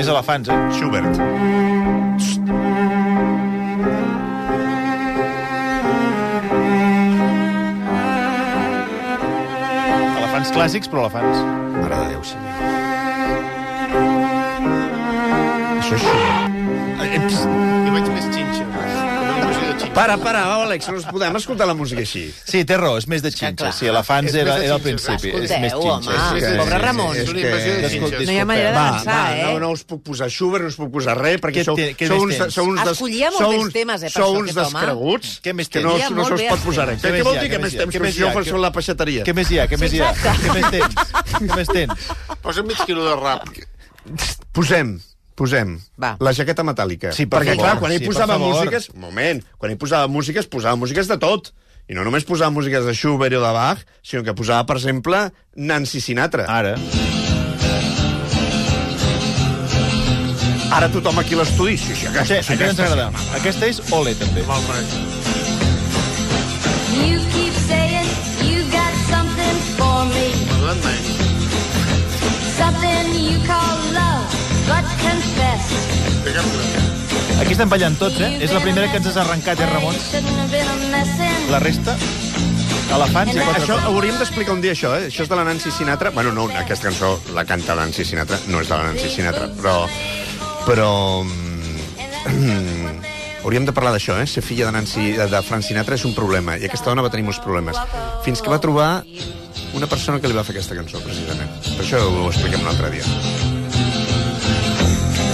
Speaker 1: Més elefants, eh?
Speaker 2: Schubert.
Speaker 1: Elefants clàssics, però elefants.
Speaker 2: Mare de Déu, senyor. Això és Schubert.
Speaker 3: I veig més xinxa.
Speaker 4: Ah,
Speaker 3: Una música xinxa.
Speaker 2: Para, para, Àlex, no ens podem escoltar la música així.
Speaker 1: Sí, té raó, és més de
Speaker 4: clar.
Speaker 1: xinxes. Sí, elefants
Speaker 3: És més
Speaker 1: era,
Speaker 3: de
Speaker 1: era al
Speaker 3: xinxes.
Speaker 1: principi.
Speaker 4: Escolteu,
Speaker 1: és més
Speaker 4: home,
Speaker 1: xinxes.
Speaker 4: sí, pobre Ramon.
Speaker 3: És una invasió de
Speaker 1: Escolti,
Speaker 3: xinxes.
Speaker 4: No hi ha manera de
Speaker 2: Va,
Speaker 4: pensar,
Speaker 2: va,
Speaker 4: eh?
Speaker 2: no, no us puc posar Schubert, no us puc posar res, perquè
Speaker 1: Què
Speaker 2: sou,
Speaker 1: té- què
Speaker 2: sou,
Speaker 1: més
Speaker 2: uns, de-
Speaker 1: tens?
Speaker 2: sou uns, des,
Speaker 4: Escollia molt
Speaker 2: sou
Speaker 4: bé
Speaker 2: uns,
Speaker 4: els temes, eh, per
Speaker 2: sou
Speaker 4: això,
Speaker 2: uns
Speaker 4: aquest home.
Speaker 2: descreguts
Speaker 1: Què més
Speaker 2: que
Speaker 1: tens?
Speaker 2: no,
Speaker 4: Hi ha
Speaker 2: no
Speaker 4: molt
Speaker 2: se'ls
Speaker 4: bé
Speaker 2: pot
Speaker 4: els
Speaker 2: posar
Speaker 1: temes.
Speaker 2: res.
Speaker 1: Què
Speaker 2: Què, què
Speaker 1: més
Speaker 2: vol
Speaker 1: hi ha?
Speaker 2: dir que
Speaker 1: Què
Speaker 2: més
Speaker 1: més hi ha?
Speaker 2: tens?
Speaker 1: Què
Speaker 2: Per
Speaker 1: més
Speaker 2: si jo
Speaker 1: hi ha?
Speaker 2: fos
Speaker 1: Què-
Speaker 2: la peixateria.
Speaker 1: Què més hi ha? Què més hi ha?
Speaker 4: Exacte.
Speaker 1: Què més tens? Què més tens?
Speaker 3: Posa mig quilo de rap.
Speaker 2: Posem, posem,
Speaker 4: Va.
Speaker 2: la jaqueta metàl·lica.
Speaker 1: Sí, per
Speaker 2: Perquè,
Speaker 1: favor,
Speaker 2: clar, quan
Speaker 1: sí,
Speaker 2: hi
Speaker 1: per
Speaker 2: posava
Speaker 1: favor.
Speaker 2: músiques... Un moment, quan hi posava músiques, posava músiques de tot. I no només posava músiques de Schubert o de Bach, sinó que posava, per exemple, Nancy Sinatra.
Speaker 1: Ara.
Speaker 2: Ara tothom aquí a l'estudi... Sí, sí,
Speaker 1: Sí,
Speaker 2: aquesta, sí,
Speaker 1: aquesta ens
Speaker 2: aquesta.
Speaker 1: agrada. Aquesta és ole, també.
Speaker 7: You keep saying you got something for me, something you call love, but confess.
Speaker 1: Aquí estem ballant tots, eh? És la primera que ens has arrencat, eh, Ramon? La resta, elefants i quatre...
Speaker 2: Això, hauríem d'explicar un dia això, eh? Això és de la Nancy Sinatra. Bueno, no, aquesta cançó la canta la Nancy Sinatra, no és de la Nancy Sinatra, però... Però... [clears throat] mm, Hauríem de parlar d'això, eh? Ser filla de, Nancy, de Frank Sinatra és un problema, i aquesta dona va tenir molts problemes. Fins que va trobar una persona que li va fer aquesta cançó, precisament. Per això ho expliquem un altre dia.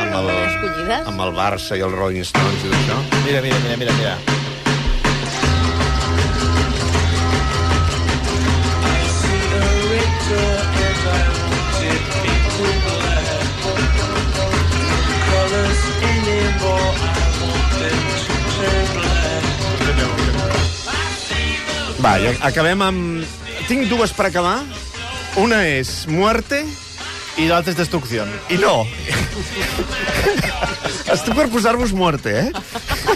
Speaker 2: amb el,
Speaker 4: Escollides?
Speaker 2: amb el Barça i el Rolling Stones i tot això.
Speaker 1: Mira, mira, mira, mira, mira.
Speaker 2: Va, i acabem amb... Tinc dues per acabar. Una és Muerte
Speaker 1: I l'altra és destrucció.
Speaker 2: i
Speaker 1: [laughs]
Speaker 2: no. Estic per posar-vos Muerte, eh?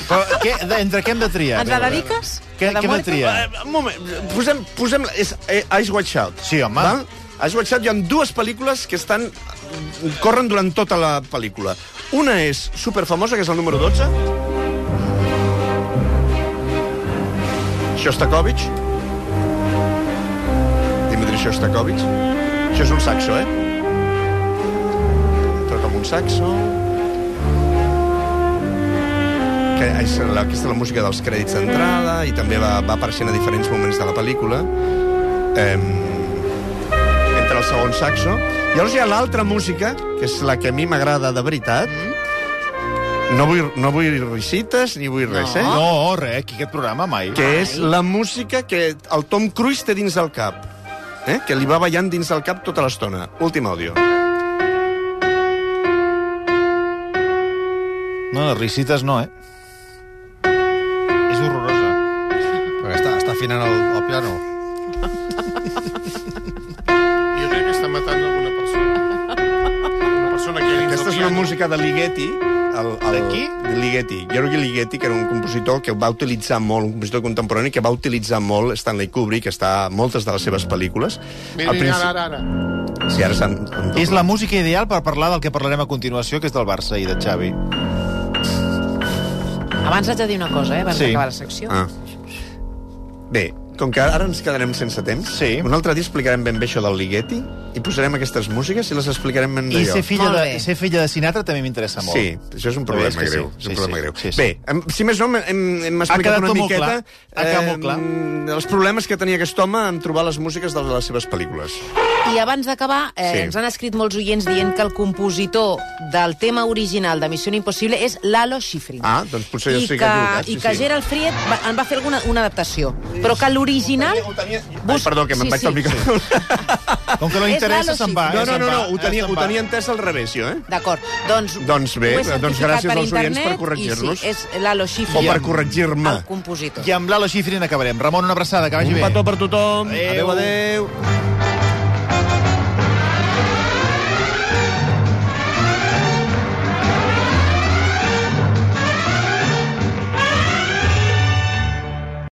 Speaker 1: Però què, entre què hem de triar?
Speaker 4: Ens la dediques?
Speaker 1: Què,
Speaker 4: La
Speaker 1: què hem de
Speaker 4: muerte?
Speaker 1: triar?
Speaker 2: Eh, un moment, posem... posem és eh, Eyes Wide Shut.
Speaker 1: Sí, home.
Speaker 2: Val? Eyes Wide Shut hi ha dues pel·lícules que estan... corren durant tota la pel·lícula. Una és superfamosa, que és el número 12. Shostakovich. Dimitri Shostakovich. Això és un saxo, eh? Toca amb un saxo... Que és la, aquesta és la música dels crèdits d'entrada i també va, va apareixent a diferents moments de la pel·lícula. Em, entra el segon saxo. Llavors hi ha l'altra música, que és la que a mi m'agrada de veritat. No vull, no vull risites ni vull res, eh?
Speaker 1: No, res, aquí aquest programa mai.
Speaker 2: que és la música que el Tom Cruise té dins del cap, eh? que li va ballant dins del cap tota l'estona. Últim àudio.
Speaker 1: No, risites no, eh? És horrorosa.
Speaker 5: Perquè està, està afinant el, el piano.
Speaker 3: Jo crec que està matant alguna persona. Una persona que...
Speaker 2: Aquesta és una música de Ligeti, el, el,
Speaker 1: De qui?
Speaker 2: De Ligeti. Giorgio Ligeti, que era un compositor que va utilitzar molt, un compositor contemporani que va utilitzar molt Stanley Kubrick, que està a moltes de les seves pel·lícules.
Speaker 3: Mira,
Speaker 2: Al
Speaker 3: mira,
Speaker 2: principi-
Speaker 3: ara, ara.
Speaker 2: Sí, ara s'han...
Speaker 1: És la música ideal per parlar del que parlarem a continuació, que és del Barça i de Xavi.
Speaker 4: Abans haig de dir una cosa, eh? Abans
Speaker 1: Sí.
Speaker 4: d'acabar la secció.
Speaker 2: Ah. Bé, com que ara ens quedarem sense temps,
Speaker 1: Sí.
Speaker 2: un altre dia explicarem ben bé això del Ligeti i posarem aquestes músiques i les explicarem ben bé.
Speaker 1: I ser filla,
Speaker 4: Molt
Speaker 1: de,
Speaker 4: bé.
Speaker 1: ser filla de Sinatra també m'interessa molt.
Speaker 2: Sí, això és un
Speaker 1: La veritat
Speaker 2: problema
Speaker 1: és que sí.
Speaker 2: greu. Sí, és un
Speaker 1: Sí,
Speaker 2: problema
Speaker 1: sí,
Speaker 2: greu.
Speaker 1: sí, sí.
Speaker 2: Bé, em, si més no, hem- hem, hem
Speaker 1: quedat
Speaker 2: explicat una
Speaker 1: tot molt
Speaker 2: miqueta...
Speaker 1: clar. Ha quedat molt clar.
Speaker 2: els problemes que tenia aquest home en trobar les músiques de les seves pel·lícules.
Speaker 4: I abans d'acabar, eh,
Speaker 2: Sí.
Speaker 4: sí. ens han escrit molts oients dient que el compositor del tema original de Missió Impossible és Lalo Schifrin.
Speaker 2: Ah, doncs potser jo
Speaker 4: I
Speaker 2: sí que
Speaker 4: que,
Speaker 2: equivocat, sí,
Speaker 4: I que
Speaker 2: sí.
Speaker 4: Gerald Fried va, en va fer alguna, una adaptació. Però que l'original...
Speaker 2: Ho tenia... Ai,
Speaker 4: Bus-
Speaker 2: perdó, que me'n
Speaker 4: sí,
Speaker 2: vaig al
Speaker 4: sí.
Speaker 2: micro.
Speaker 1: Com que no
Speaker 4: És
Speaker 1: interessa,
Speaker 4: Lalo
Speaker 1: se'n va.
Speaker 2: No,
Speaker 1: eh,
Speaker 2: no,
Speaker 1: se'n
Speaker 2: no,
Speaker 1: va,
Speaker 2: no,
Speaker 1: eh,
Speaker 2: ho tenia,
Speaker 1: se'n
Speaker 2: ho
Speaker 1: va.
Speaker 2: tenia entès al revés, jo, eh?
Speaker 4: D'acord, doncs...
Speaker 2: Doncs bé,
Speaker 4: ho he
Speaker 2: doncs
Speaker 4: certificat
Speaker 2: gràcies
Speaker 4: per
Speaker 2: als oients
Speaker 4: internet
Speaker 2: per corregir-nos.
Speaker 4: i Sí, és Lalo
Speaker 2: O
Speaker 4: Schifrin.
Speaker 2: per corregir-me.
Speaker 4: El compositor.
Speaker 1: I amb l'Ala Xifrin acabarem. Ramon, una abraçada, que vagi
Speaker 2: Un
Speaker 1: bé.
Speaker 2: petó per tothom.
Speaker 1: Adéu.
Speaker 2: adéu. adéu.